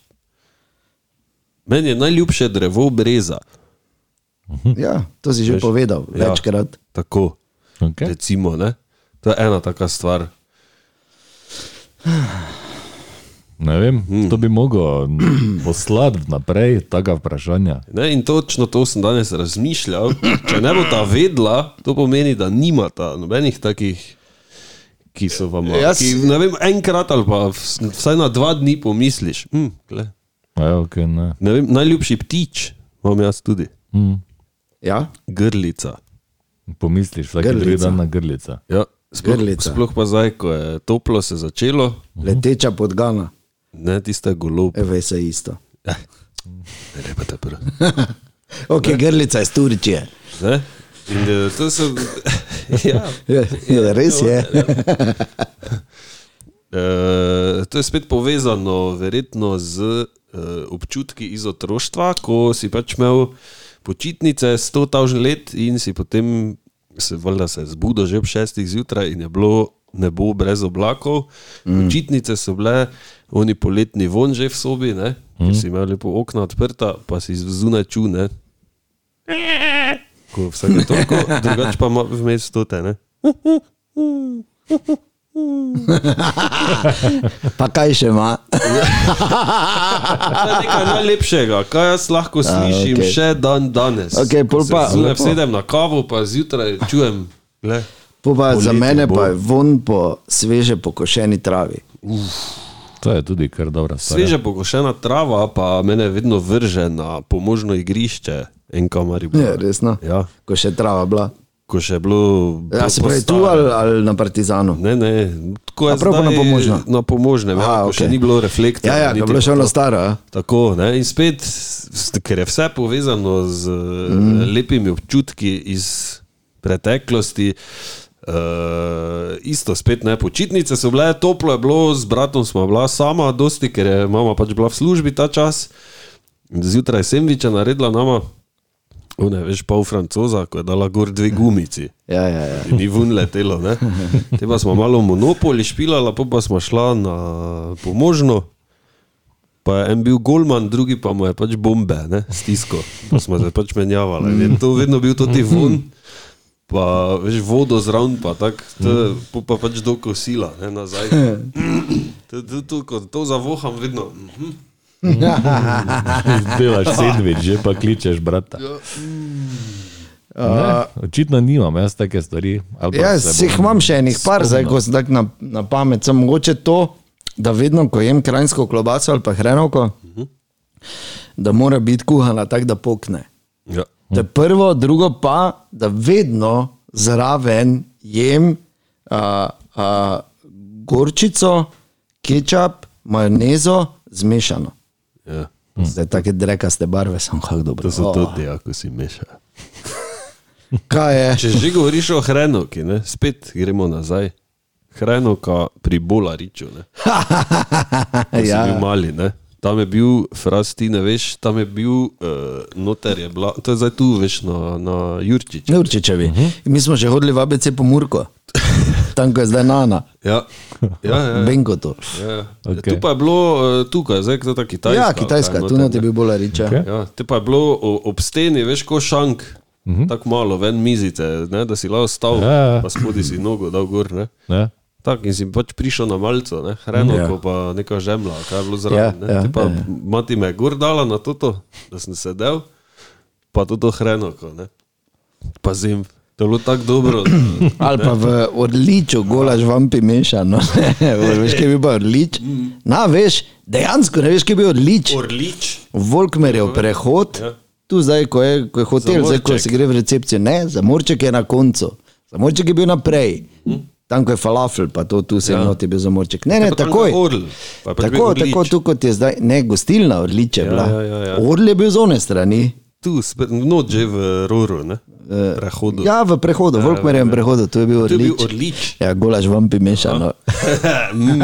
[SPEAKER 4] Meni je najljubše drevo breza.
[SPEAKER 3] Ja, to si že
[SPEAKER 4] hm. Veš, Ja.
[SPEAKER 3] povedal večkrat.
[SPEAKER 4] Tako,
[SPEAKER 2] Okay.
[SPEAKER 4] recimo, ne. To je ena taka stvar.
[SPEAKER 2] Ne vem,
[SPEAKER 3] Hmm.
[SPEAKER 2] to bi mogel poslati naprej, taka vprašanja.
[SPEAKER 4] Ne, in točno to sem danes razmišljal. Če ne bo ta vedla, to pomeni, da nimata nobenih takih, ki so vam
[SPEAKER 3] Jaz-
[SPEAKER 4] ki, ne vem, enkrat ali pa vs- vsaj na dva dni pomisliš. Hm, glej,
[SPEAKER 2] Ja, okay, ne.
[SPEAKER 4] ne vem, najljubši ptič imam jaz tudi,
[SPEAKER 2] hm.
[SPEAKER 3] Ja?
[SPEAKER 4] grlica.
[SPEAKER 2] Pomisliš, vsak
[SPEAKER 3] Grlica.
[SPEAKER 2] drugi dan na grlica.
[SPEAKER 4] Ja, sploh,
[SPEAKER 3] Grlica.
[SPEAKER 4] sploh pa zdaj, ko je toplo se začelo,
[SPEAKER 3] Leteča podgana,
[SPEAKER 4] ne tiste golobe.
[SPEAKER 3] vse E, isto.
[SPEAKER 4] Eh, E, Ne, pa te prvo.
[SPEAKER 3] Ok, grlica iz Turčije.
[SPEAKER 4] Ne? In eh, to so. Ja.
[SPEAKER 3] Je, je, res je.
[SPEAKER 4] Eh, to je spet povezano, verjetno, z eh, občutki iz otroštva, ko si pač imel počitnice 100.000 let in si potem, se, valjda se je zbudil že ob 6. zjutraj in je bilo nebo brez oblakov. Mm. Počitnice so bile, oni poletni von že v sobi, ne, mm. ker si imel lepo okna odprta, pa si zunaj čune. Ko vsake toliko, drugače pa ima vmes stote. Ne?
[SPEAKER 3] Pa kaj še ima?
[SPEAKER 4] To je nekaj najlepšega, kar jaz lahko
[SPEAKER 3] okej.
[SPEAKER 4] slišim okay. še dan danes.
[SPEAKER 3] Okej, pol pa-
[SPEAKER 4] Zunaj
[SPEAKER 3] lepo.
[SPEAKER 4] sedem na kavo, pa zjutraj čujem. Le.
[SPEAKER 3] Po Pa za
[SPEAKER 4] Poleti
[SPEAKER 3] mene
[SPEAKER 4] bo.
[SPEAKER 3] pa je von po sveže pokošeni travi.
[SPEAKER 2] To je tudi kar dobra stvar.
[SPEAKER 3] Torej.
[SPEAKER 4] Sveže pogošena trava pa mene vedno vrže na pomožno igrišče in kamari.
[SPEAKER 3] Je, resno.
[SPEAKER 4] Ja,
[SPEAKER 3] no. Ko še trava bila.
[SPEAKER 4] ko še je bilo.
[SPEAKER 3] Ja, se pravi tu ali,
[SPEAKER 4] postare.
[SPEAKER 3] ali na Partizanu.
[SPEAKER 4] Ne, ne, tako je
[SPEAKER 3] A prav pa na
[SPEAKER 4] zdaj
[SPEAKER 3] pomožno?
[SPEAKER 4] Na pomožnem,
[SPEAKER 3] Aha,
[SPEAKER 4] ja, okay. še
[SPEAKER 3] okej.
[SPEAKER 4] ni bilo reflektorja.
[SPEAKER 3] Ja, ja, ko je
[SPEAKER 4] niti
[SPEAKER 3] bilo še
[SPEAKER 4] pa
[SPEAKER 3] ono
[SPEAKER 4] to.
[SPEAKER 3] staro.
[SPEAKER 4] Tako, ne? in spet, s- ker je vse povezano z mm. lepimi občutki iz preteklosti. Uh, isto spet ne, počitnice so bile, toplo je bilo, z bratom smo bila sama, dosti, ker je mama pač bila v službi ta čas. Zjutraj sem viča naredila nama, ne veš, pol francoza, ko je dala gor dve gumici.
[SPEAKER 3] Ja, ja, ja.
[SPEAKER 4] In ni vun letelo. ne. Te pa smo malo monopoli špilali, pa, pa smo šla na pomožno. Pa je en bil Golman, drugi pa mu je pač bombe, ne, stisko. Pa smo se pač menjavali. In je to vedno bil to ti vun, pa veš vodo zraven, pa tako, to- pol pa pač do kosila, ne nazaj. To, to, to, ko to zavoham vedno. mhm.
[SPEAKER 2] Delaš sendvič, že pa kličeš brata.
[SPEAKER 3] Ja, mm.
[SPEAKER 2] Ne, očitno nimam jaz take stvari. ali pa se
[SPEAKER 3] Jaz
[SPEAKER 2] bom
[SPEAKER 3] Ja, jih imam še enih par, zdaj
[SPEAKER 2] spomnil.
[SPEAKER 3] ko sem tako na, na pamet. Sem mogoče to, da vedno, ko jem krajinsko klobaco ali pa hrenovko,
[SPEAKER 4] Mhm.
[SPEAKER 3] da mora biti kuhana tako, da pokne.
[SPEAKER 4] Ja.
[SPEAKER 3] To je prvo, drugo pa, da vedno zraven jem a, a, gorčico, kečap, majonezo zmešano.
[SPEAKER 4] Ja.
[SPEAKER 3] Zdaj take drekaste barve, sem kako dobro.
[SPEAKER 4] To so tudi, ako si meša.
[SPEAKER 3] Kaj je?
[SPEAKER 4] Če že govoriš o hrenovki, ne? spet gremo nazaj. Hrenovka pri Bolariču, ne? Ko ja. bil
[SPEAKER 3] Ja,
[SPEAKER 4] mali, ne? Tam je bil, frasti, ne veš, tam je bil, uh, noter je bila, to je zdaj tu, veš, na, na Jurčiču.
[SPEAKER 3] Neurčičevi.
[SPEAKER 4] Mhm.
[SPEAKER 3] Mi smo že hodili v ABC po Murko, tam ko je zdaj Nana,
[SPEAKER 4] Ja, ja, ja. ja.
[SPEAKER 3] Benko to.
[SPEAKER 4] ja.
[SPEAKER 2] Okej.
[SPEAKER 4] Okay. Tu pa je bilo, eh, tukaj, zdaj to je ta Kitajska.
[SPEAKER 3] Ja,
[SPEAKER 4] kaj je
[SPEAKER 3] Kitajska, tu
[SPEAKER 4] noter,
[SPEAKER 3] ne ti bi bila riča.
[SPEAKER 2] Okej.
[SPEAKER 4] Ja, te pa je bilo o- ob steni, veš, ko šank, uh -huh. tako malo, ven mizice, ne, da si lahko stal,
[SPEAKER 2] Ja, ja.
[SPEAKER 4] pa spodi si nogo dal gor. Ne?
[SPEAKER 2] Ne?
[SPEAKER 4] Tako in si pač prišel na malco, ne? hrano,
[SPEAKER 3] Ja.
[SPEAKER 4] ja. pa neka žemlja, kaj je bilo zraven.
[SPEAKER 3] Ja,
[SPEAKER 4] Ja,
[SPEAKER 3] ja,
[SPEAKER 4] ja, pa,
[SPEAKER 3] ja,
[SPEAKER 4] ja. Mati me je gor dala na to, da sem sedel, pa to hrano, pa zim. To je bilo tako dobro. da-
[SPEAKER 3] Ali pa v odličju, golaž vampi mešano. Veš, kaj bi bil odlič? Na, veš, dejansko ne veš, kaj bi bil odlič.
[SPEAKER 4] Orlič.
[SPEAKER 3] Volkmerjev prehod,
[SPEAKER 4] Ja.
[SPEAKER 3] tu zdaj, ko je, ko je hotel, zdaj, ko
[SPEAKER 4] Zamorček.
[SPEAKER 3] se gre v recepcijo, ne, zamorček je na koncu, zamorček je bil naprej. Tam, ko je falafel, pa to tu se enoti bil zamorček. Ne, ne,
[SPEAKER 4] pa Hm? Ja. tam, ko
[SPEAKER 3] takoj.
[SPEAKER 4] je orl, pa je pač bil
[SPEAKER 3] Tako,
[SPEAKER 4] orlič.
[SPEAKER 3] tako tu kot je zdaj, ne, gostilna odliče bila.
[SPEAKER 4] ja, ja, ja.
[SPEAKER 3] Orl je bil z one strani.
[SPEAKER 4] Tu, spet, no, že v roru, ne? Prehodu.
[SPEAKER 3] Ja, v prehodu, v Volkmerjem prehodu, tu je bil
[SPEAKER 4] To je bil
[SPEAKER 3] odlič.
[SPEAKER 4] orlič.
[SPEAKER 3] Ja, golaž vam bi mešano.
[SPEAKER 4] Mm.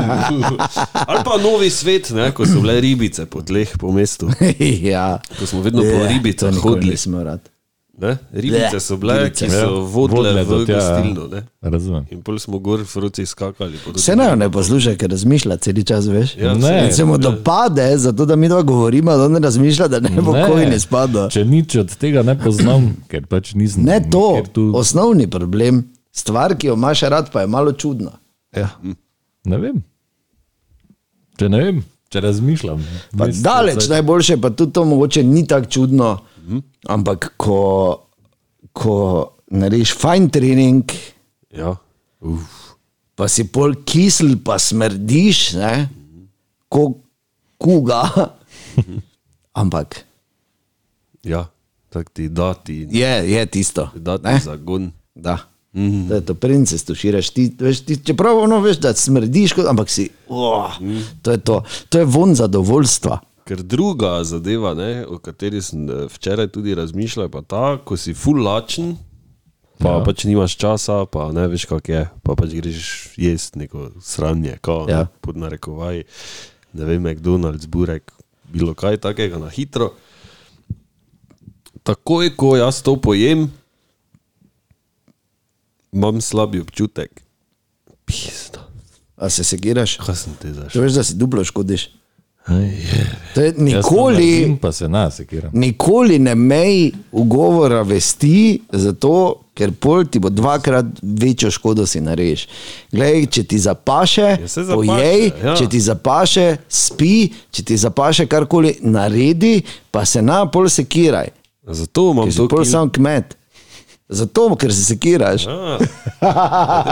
[SPEAKER 4] Ali pa novi svet, ne? ko so bile ribice po tleh, po mestu.
[SPEAKER 3] ja.
[SPEAKER 4] Ko smo vedno po
[SPEAKER 3] Je,
[SPEAKER 4] ribicah
[SPEAKER 3] to nikoli
[SPEAKER 4] hodili.
[SPEAKER 3] Nismo rad.
[SPEAKER 4] Ne? Ribice so bile, ki
[SPEAKER 3] Ribice.
[SPEAKER 4] so vodile
[SPEAKER 2] Ja.
[SPEAKER 4] v
[SPEAKER 2] do tja, ja.
[SPEAKER 4] gostilno. Ne?
[SPEAKER 2] Razumem.
[SPEAKER 4] In pol smo gor v roci skakali. po
[SPEAKER 3] Vse
[SPEAKER 4] tudi-
[SPEAKER 3] naj jo ne posluša, ker razmišlja cel čas, veš.
[SPEAKER 4] Ja,
[SPEAKER 2] Ne.
[SPEAKER 4] ne.
[SPEAKER 3] In se mu dopade, zato da mi dva govorimo, da on razmišlja, da ne bo
[SPEAKER 2] Ne.
[SPEAKER 3] kojni spadal.
[SPEAKER 2] Če nič od tega ne poznam, ker pač nisem.
[SPEAKER 3] Ne to,
[SPEAKER 2] ker Tu,
[SPEAKER 3] osnovni problem, stvar, ki jo imaš rad, pa je malo čudna.
[SPEAKER 2] ja. Ne vem. Če ne vem, če razmišljam.
[SPEAKER 3] Pa
[SPEAKER 2] Mislim,
[SPEAKER 3] daleč
[SPEAKER 2] zdaj-
[SPEAKER 3] najboljše, pa tudi to mogoče ni tako čudno, ampak ko, ko narediš fajn trening,
[SPEAKER 4] Ja. Uf.
[SPEAKER 3] pa si pol kisel, pa smrdiš, ne, ko kuga. Ampak
[SPEAKER 4] ja, tako ti dati,
[SPEAKER 3] je, je tisto.
[SPEAKER 4] dati
[SPEAKER 3] ne.
[SPEAKER 4] zagon.
[SPEAKER 3] Da. Mm. To je to, princes tuširaš. Ti, veš, ti, čeprav ono veš, da smrdiš, kot, ampak si. Oh, mm. To je to. To je von zadovoljstva.
[SPEAKER 4] Ker druga zadeva, ne, o kateri sem eh, včeraj tudi razmišljal, je pa ta, ko si full lačen, pa ja. pač nimaš časa, pa ne veš, kako je, pa pač greš jesti neko sranje, kot
[SPEAKER 3] Ja.
[SPEAKER 4] ja. pod narekovaji, ne vem, McDonald's, Burek, bilo kaj takega na hitro. Takoj, ko jaz to pojem, imam slabi občutek. Pista,
[SPEAKER 3] A se sekiraš?
[SPEAKER 4] kaj sem ti zašel?
[SPEAKER 3] Če veš, da si duplo škodiš.
[SPEAKER 2] Je,
[SPEAKER 3] To je nikoli.
[SPEAKER 2] pa se nas, kjer.
[SPEAKER 3] Nikoli ne mej ugovora vesti, zato ker pol ti bo dvakrat večjo škodo si narediš. Glej, če ti zapaše,
[SPEAKER 4] Ja, saj zapaše,
[SPEAKER 3] pojej,
[SPEAKER 4] ja.
[SPEAKER 3] če ti zapaše, spi, če ti zapaše karkoli naredi, pa se na pol sekiraj.
[SPEAKER 4] Zato imam
[SPEAKER 3] Ker si
[SPEAKER 4] to
[SPEAKER 3] pol sam kmet. Zato, ker se sekiraš.
[SPEAKER 4] Ah,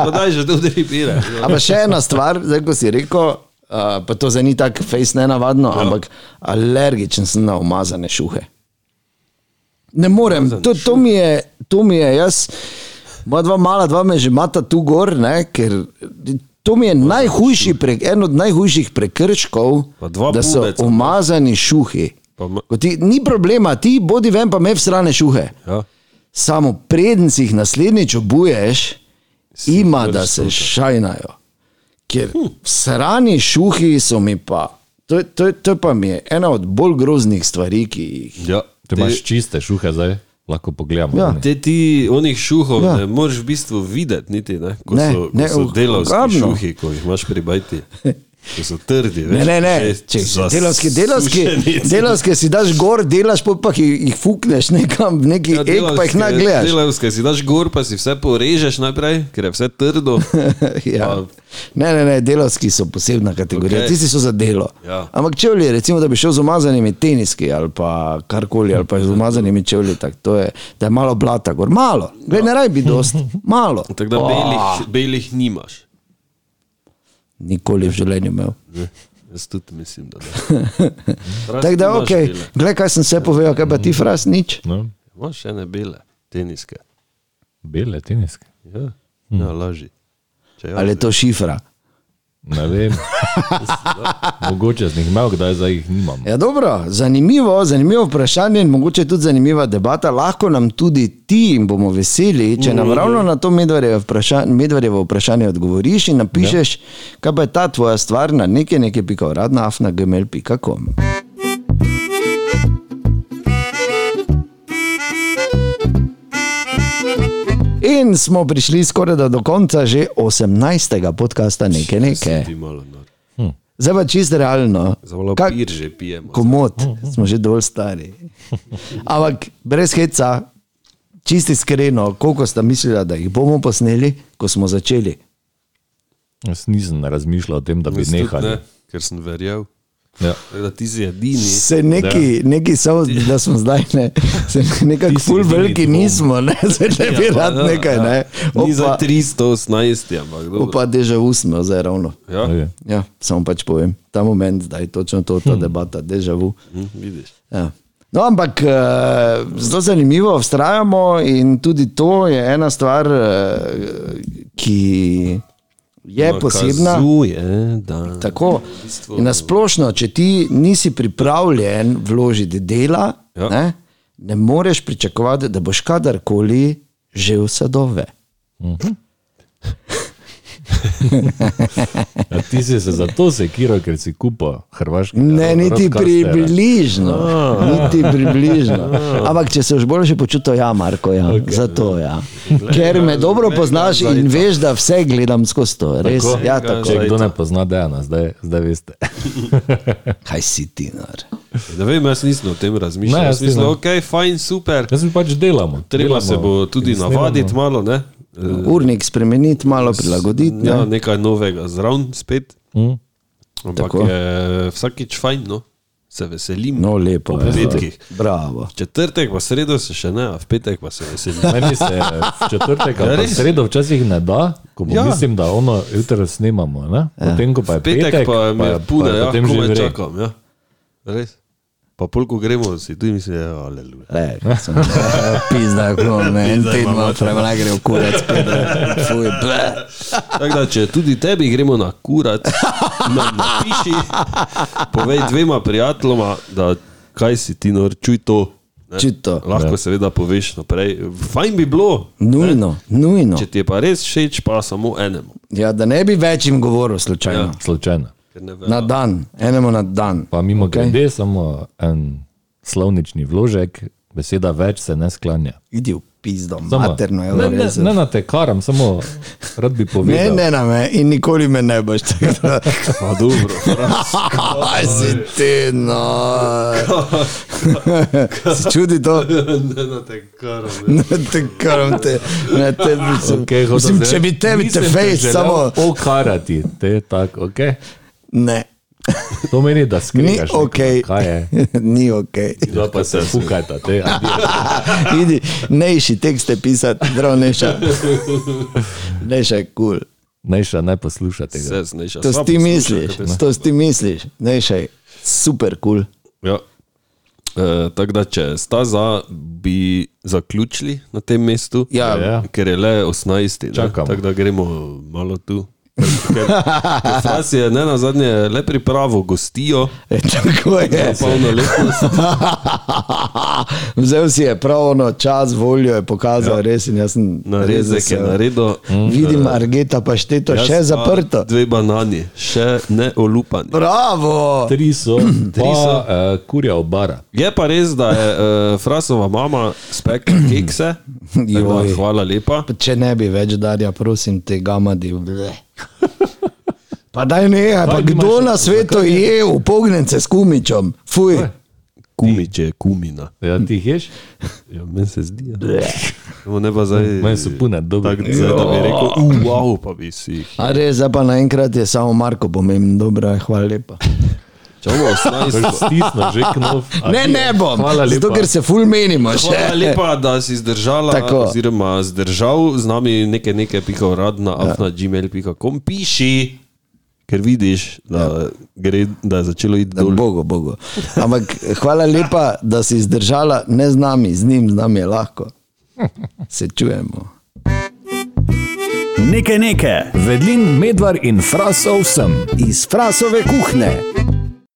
[SPEAKER 4] ja, daj že to dripira.
[SPEAKER 3] Ampak še ena stvar, zdaj ko si rekel, uh, pa to zdaj ni tako fejs nenavadno, ja. ampak alergičen sem na umazane šuhe. Ne morem, to, to, mi je, to mi je, jaz, moja dva mala, dva me že mata tu gor, ne, ker to mi je najhujši, pre, en od najhujših prekrškov,
[SPEAKER 4] Pa dva
[SPEAKER 3] da so
[SPEAKER 4] pubeca.
[SPEAKER 3] umazani šuhi.
[SPEAKER 4] Pa ma-
[SPEAKER 3] Ko Ti, ni problema, ti bodi ven, pa me vsrane šuhe.
[SPEAKER 4] Ja.
[SPEAKER 3] Samo preden si jih naslednjič obuješ, ima da se šajnajo. Ker srani šuhi so mi pa. To, je- to, je- to pa mi je ena od bolj groznih stvari, ki jih
[SPEAKER 4] Ja,
[SPEAKER 2] Te imaš čiste šuhe zdaj, lahko pogledamo.
[SPEAKER 3] Ja.
[SPEAKER 2] oni.
[SPEAKER 4] Te ti onih šuhov
[SPEAKER 3] Ja.
[SPEAKER 4] ja. ne moreš v bistvu videti, niti, ne? ko
[SPEAKER 3] Ne,
[SPEAKER 4] ne, so, ko
[SPEAKER 3] ne,
[SPEAKER 4] ne, so delavski
[SPEAKER 3] ogabno.
[SPEAKER 4] ogromno. šuhi, ko jih imaš pribajti. Ko so trdi,
[SPEAKER 3] Ne,
[SPEAKER 4] veš,
[SPEAKER 3] ne, ne.
[SPEAKER 4] že
[SPEAKER 3] Če,
[SPEAKER 4] zasušeni.
[SPEAKER 3] delavski, delavski, delavski si daš gor, delaš pol pa jih, jih fukneš nekam, v neki ja, ek pa jih
[SPEAKER 4] delavske-
[SPEAKER 3] nagledaš.
[SPEAKER 4] Delavske si daš gor, pa si vse porežeš najprej, ker je vse trdo.
[SPEAKER 3] ja.
[SPEAKER 4] Pa-
[SPEAKER 3] Ne, ne, ne, delavski so posebna kategorija, okay.
[SPEAKER 4] Okej.
[SPEAKER 3] tisti so za delo.
[SPEAKER 4] Ja.
[SPEAKER 3] Ampak čevlji, recimo, da bi šel z umazanimi teniski ali pa karkoli, ali pa z umazanimi čevlji, tako to je, da je malo blata gor, malo, Glej,
[SPEAKER 4] Ja.
[SPEAKER 3] ne raj bi dost, malo.
[SPEAKER 4] Tako da belih, belih nimaš.
[SPEAKER 3] Nikoli v življenju imel.
[SPEAKER 4] Ne? Jaz tudi mislim, da ne.
[SPEAKER 3] Tako da,
[SPEAKER 4] Imaš
[SPEAKER 3] ok,
[SPEAKER 4] bele.
[SPEAKER 3] gledaj, kaj sem vse povedal, kaj pa ti fras nič.
[SPEAKER 2] No,
[SPEAKER 4] Imaš še ne bele, teniske.
[SPEAKER 2] bele teniske.
[SPEAKER 4] Ja, ja laži. Če jaz
[SPEAKER 3] Hm. Ali je to šifra?
[SPEAKER 2] Ne vem. Mogoče sem jih imel, kdaj zdaj jih nimam.
[SPEAKER 3] Ja, dobro, zanimivo, zanimivo vprašanje in mogoče tudi zanimiva debata. Lahko nam tudi ti in bomo veseli, če
[SPEAKER 4] Mhm.
[SPEAKER 3] nam ravno na to medvarjevo vprašanje, medvarjevo vprašanje odgovoriš in
[SPEAKER 4] Ja.
[SPEAKER 3] napišeš, kaj pa je ta tvoja stvar na nekaj, nekaj pika uradna, afna gmail.com. In smo prišli skoraj da do konca že 18. podcasta nekaj nekaj.
[SPEAKER 4] Ti malo nor.
[SPEAKER 3] Zdaj pa čisto realno.
[SPEAKER 4] Za malo
[SPEAKER 3] Kak-
[SPEAKER 4] pir že pijemo.
[SPEAKER 3] komod, smo že dol stari. Ampak brez heca, čisto iskreno, koliko sta mislila, da jih bomo posneli, ko smo začeli.
[SPEAKER 2] Jaz nisem razmišljal o tem, da bi
[SPEAKER 4] Jaz no. tudi
[SPEAKER 2] nehali.
[SPEAKER 4] Ne, ker sem verjel.
[SPEAKER 2] Ja.
[SPEAKER 4] Tako da ti si edini.
[SPEAKER 3] Se neki, neki samo, da smo zdaj ne, se nekako
[SPEAKER 2] Ti si
[SPEAKER 3] ful
[SPEAKER 2] edini
[SPEAKER 3] veliki
[SPEAKER 2] dvom.
[SPEAKER 3] nismo, ne, zdaj ne bi
[SPEAKER 4] Ja,
[SPEAKER 3] rad
[SPEAKER 4] ja,
[SPEAKER 3] nekaj,
[SPEAKER 4] ja.
[SPEAKER 3] ne.
[SPEAKER 4] Ni za
[SPEAKER 3] Opa,
[SPEAKER 4] 318, ampak dobro.
[SPEAKER 3] opa deja usmo, zdaj ravno.
[SPEAKER 4] Ja,
[SPEAKER 2] Ne vem.
[SPEAKER 3] Ja, samo pač povem, ta moment, da je točno to, ta debata, deja vu.
[SPEAKER 4] hm, vidiš.
[SPEAKER 3] Ja. No, ampak eh, zelo zanimivo, vztrajamo in tudi to je ena stvar, eh, ki je posebna.
[SPEAKER 4] Nakazuje, No, da.
[SPEAKER 3] Tako, in nasplošno, če ti nisi pripravljen vložiti dela, ja.
[SPEAKER 4] Ja.
[SPEAKER 3] ne, ne moreš pričakovati, da boš kadarkoli že v sadove.
[SPEAKER 2] A ti si se zato sekiral, ker si kupo hrvaški.
[SPEAKER 3] Ne, niti približno. Niti približno. Ampak če se už boljše počutil, ja, Marko, ja. Okay, zato ja. Ker me dobro poznaš in veš, da vse gledam skozi to. Res,
[SPEAKER 2] Tako.
[SPEAKER 3] ja, tako.
[SPEAKER 2] Če kdo ne pozna Dejana, zdaj, zdaj veste.
[SPEAKER 3] Kaj si ti, nar?
[SPEAKER 4] Ne vem, jaz nisem o tem razmišljal.
[SPEAKER 2] Ne,
[SPEAKER 4] Ne,
[SPEAKER 2] jaz
[SPEAKER 4] jaz mislim,
[SPEAKER 2] nisem.
[SPEAKER 4] ok, fajn, super.
[SPEAKER 2] Jaz mi pač delamo.
[SPEAKER 4] Treba
[SPEAKER 2] delamo
[SPEAKER 4] se bo tudi
[SPEAKER 2] in snemamo.
[SPEAKER 4] navaditi malo, ne? Eh,
[SPEAKER 3] Urnik spremeniti, malo prilagoditi. ne.
[SPEAKER 4] Ja, nekaj novega zraven spet.
[SPEAKER 2] Mm.
[SPEAKER 4] Ampak
[SPEAKER 3] Tako.
[SPEAKER 4] je vsakič fajn, no? Se veselim.
[SPEAKER 3] No, lepo.
[SPEAKER 4] Ob
[SPEAKER 3] ja.
[SPEAKER 4] petkih.
[SPEAKER 3] Bravo.
[SPEAKER 4] V četrtek pa sredo se še ne, a v petek pa se veselim.
[SPEAKER 2] Meni se eh, v četrtek
[SPEAKER 4] Ja,
[SPEAKER 2] ali
[SPEAKER 4] res.
[SPEAKER 2] sredo včasih ne da, ko ja.
[SPEAKER 4] Ja.
[SPEAKER 2] mislim, da ono jutro
[SPEAKER 3] Ja.
[SPEAKER 2] snemamo. Ne? Potem, ko pa je
[SPEAKER 4] petek,
[SPEAKER 2] petek
[SPEAKER 4] pa me
[SPEAKER 2] je-
[SPEAKER 4] pude,
[SPEAKER 2] je
[SPEAKER 4] ja,
[SPEAKER 2] potem že
[SPEAKER 4] komaj
[SPEAKER 2] vre.
[SPEAKER 4] čakam. Ja. Res. Pa polko gremo, si tudi mislim, da je aleluja.
[SPEAKER 3] Le, E, sem, eh, Pizda, kako me en teden odprem, naj gre v kurec, pizda, fuj, ble.
[SPEAKER 4] Tako da, če tudi tebi gremo na kurat, nam napiši, povej dvema prijateljoma, da kaj si ti nor, čuj to. ne.
[SPEAKER 3] Čuj to.
[SPEAKER 4] Lahko ja. seveda poveš naprej. Fajn bi bilo,
[SPEAKER 3] Nujno, nujno.
[SPEAKER 4] če ti je pa res všeč, pa samo enemu.
[SPEAKER 3] Ja, da ne bi več jim govoril slučajno.
[SPEAKER 2] Slučajno.
[SPEAKER 4] Ker ne vem.
[SPEAKER 3] Na dan, enemu na dan.
[SPEAKER 2] Pa mimo okay. grede, samo en slovnični vložek, beseda več se ne sklanja.
[SPEAKER 3] Idi v pizdo,
[SPEAKER 2] Samo-
[SPEAKER 3] materno je
[SPEAKER 2] ne, ne,
[SPEAKER 3] vrzel.
[SPEAKER 2] ne na te karam, samo rad bi
[SPEAKER 3] Ne,
[SPEAKER 2] povedal.
[SPEAKER 3] ne na me in nikoli me ne boš tako.
[SPEAKER 4] Pa dobro,
[SPEAKER 3] Kaj si ti, no? Se čudi to?
[SPEAKER 4] ne na te karo.
[SPEAKER 3] Ne, te karam te. Ne, te mislim,
[SPEAKER 2] Okay, hotel
[SPEAKER 3] mislim,
[SPEAKER 2] sem
[SPEAKER 3] če bi
[SPEAKER 2] reči,
[SPEAKER 3] tebi te
[SPEAKER 2] nisem
[SPEAKER 3] fejs
[SPEAKER 2] želel
[SPEAKER 3] samo...
[SPEAKER 2] Okarati te tako, okay?
[SPEAKER 3] Ne,
[SPEAKER 2] to meni, da
[SPEAKER 3] ni
[SPEAKER 2] skrivaš.
[SPEAKER 3] ok.
[SPEAKER 2] Kaj je?
[SPEAKER 3] Ni ok.
[SPEAKER 2] Da pa se fukajta, te. adijo.
[SPEAKER 3] Idi, ne iši tekste pisati, drav neša. Neša je kul. Cool.
[SPEAKER 2] Neša ne posluša tega.
[SPEAKER 4] Se sneš.
[SPEAKER 3] To si ti misliš, to si ti misliš. Neša je super kul. Cool.
[SPEAKER 4] Ja. E, Tako da, če sta za, bi zaključili na tem mestu.
[SPEAKER 3] Ja.
[SPEAKER 2] Ja.
[SPEAKER 4] ker je le 18. ne.
[SPEAKER 2] Čakamo.
[SPEAKER 4] Tako da gremo malo tu. Ker- ker Fras je ne na zadnje le pripravo gostijo,
[SPEAKER 3] E, tako je.
[SPEAKER 4] polno lepo.
[SPEAKER 3] Vzel si je pravno čas, voljo je pokazal, ja. res in jaz sem res
[SPEAKER 4] Narezek je
[SPEAKER 3] vesel. Mm.
[SPEAKER 4] naredil.
[SPEAKER 2] Mm.
[SPEAKER 3] Vidim Argeta pašteto
[SPEAKER 4] Jaz
[SPEAKER 3] še
[SPEAKER 4] pa
[SPEAKER 3] zaprto.
[SPEAKER 4] Dve banani, še ne olupani.
[SPEAKER 3] Bravo!
[SPEAKER 2] Tri so, tri
[SPEAKER 4] so.
[SPEAKER 2] so. Uh, kurja obara.
[SPEAKER 4] Je pa res, da je uh, Frasova mama spekla kekse. Tako da
[SPEAKER 3] Joj.
[SPEAKER 4] Hvala lepa.
[SPEAKER 3] Če ne bi več darja, prosim te, gamadi. ble. Pa daj ne, pa
[SPEAKER 2] Daj, nimaš-
[SPEAKER 3] kdo na svetu je upognen se s kumičom? Fuj.
[SPEAKER 4] Kumič je kumina.
[SPEAKER 2] Ja, ti jih ješ?
[SPEAKER 4] Ja, meni se zdi. Ja. Samo Ne pa zdaj.
[SPEAKER 2] Meni so pune, dobro.
[SPEAKER 4] Tako zdaj, da bi rekel, "U, wow, pa bi si jih.
[SPEAKER 3] A res, zdaj pa naenkrat je samo Marko pomemben, dobro, je, hvala lepa.
[SPEAKER 4] Če bomo 18.
[SPEAKER 2] Stisno, že knov.
[SPEAKER 3] Ne, ne bom,
[SPEAKER 2] Hvala lepa.
[SPEAKER 3] zato ker se ful menimo še.
[SPEAKER 4] Hvala lepa, da si zdržala,
[SPEAKER 3] Tako.
[SPEAKER 4] oziroma zdržal z nami nekaj, nekaj pikov rad na ja. afna.gmail.com. Piši, ker vidiš, da, ja. gre, da je začelo iti dol.
[SPEAKER 3] Bogo, bogo. Ampak hvala lepa, da si zdržala, ne z nami, z njim, z nami je lahko. Se čujemo.
[SPEAKER 1] Nekaj nekaj.
[SPEAKER 2] Vedlin, medvar in frasov sem.
[SPEAKER 1] Iz frasove kuhne.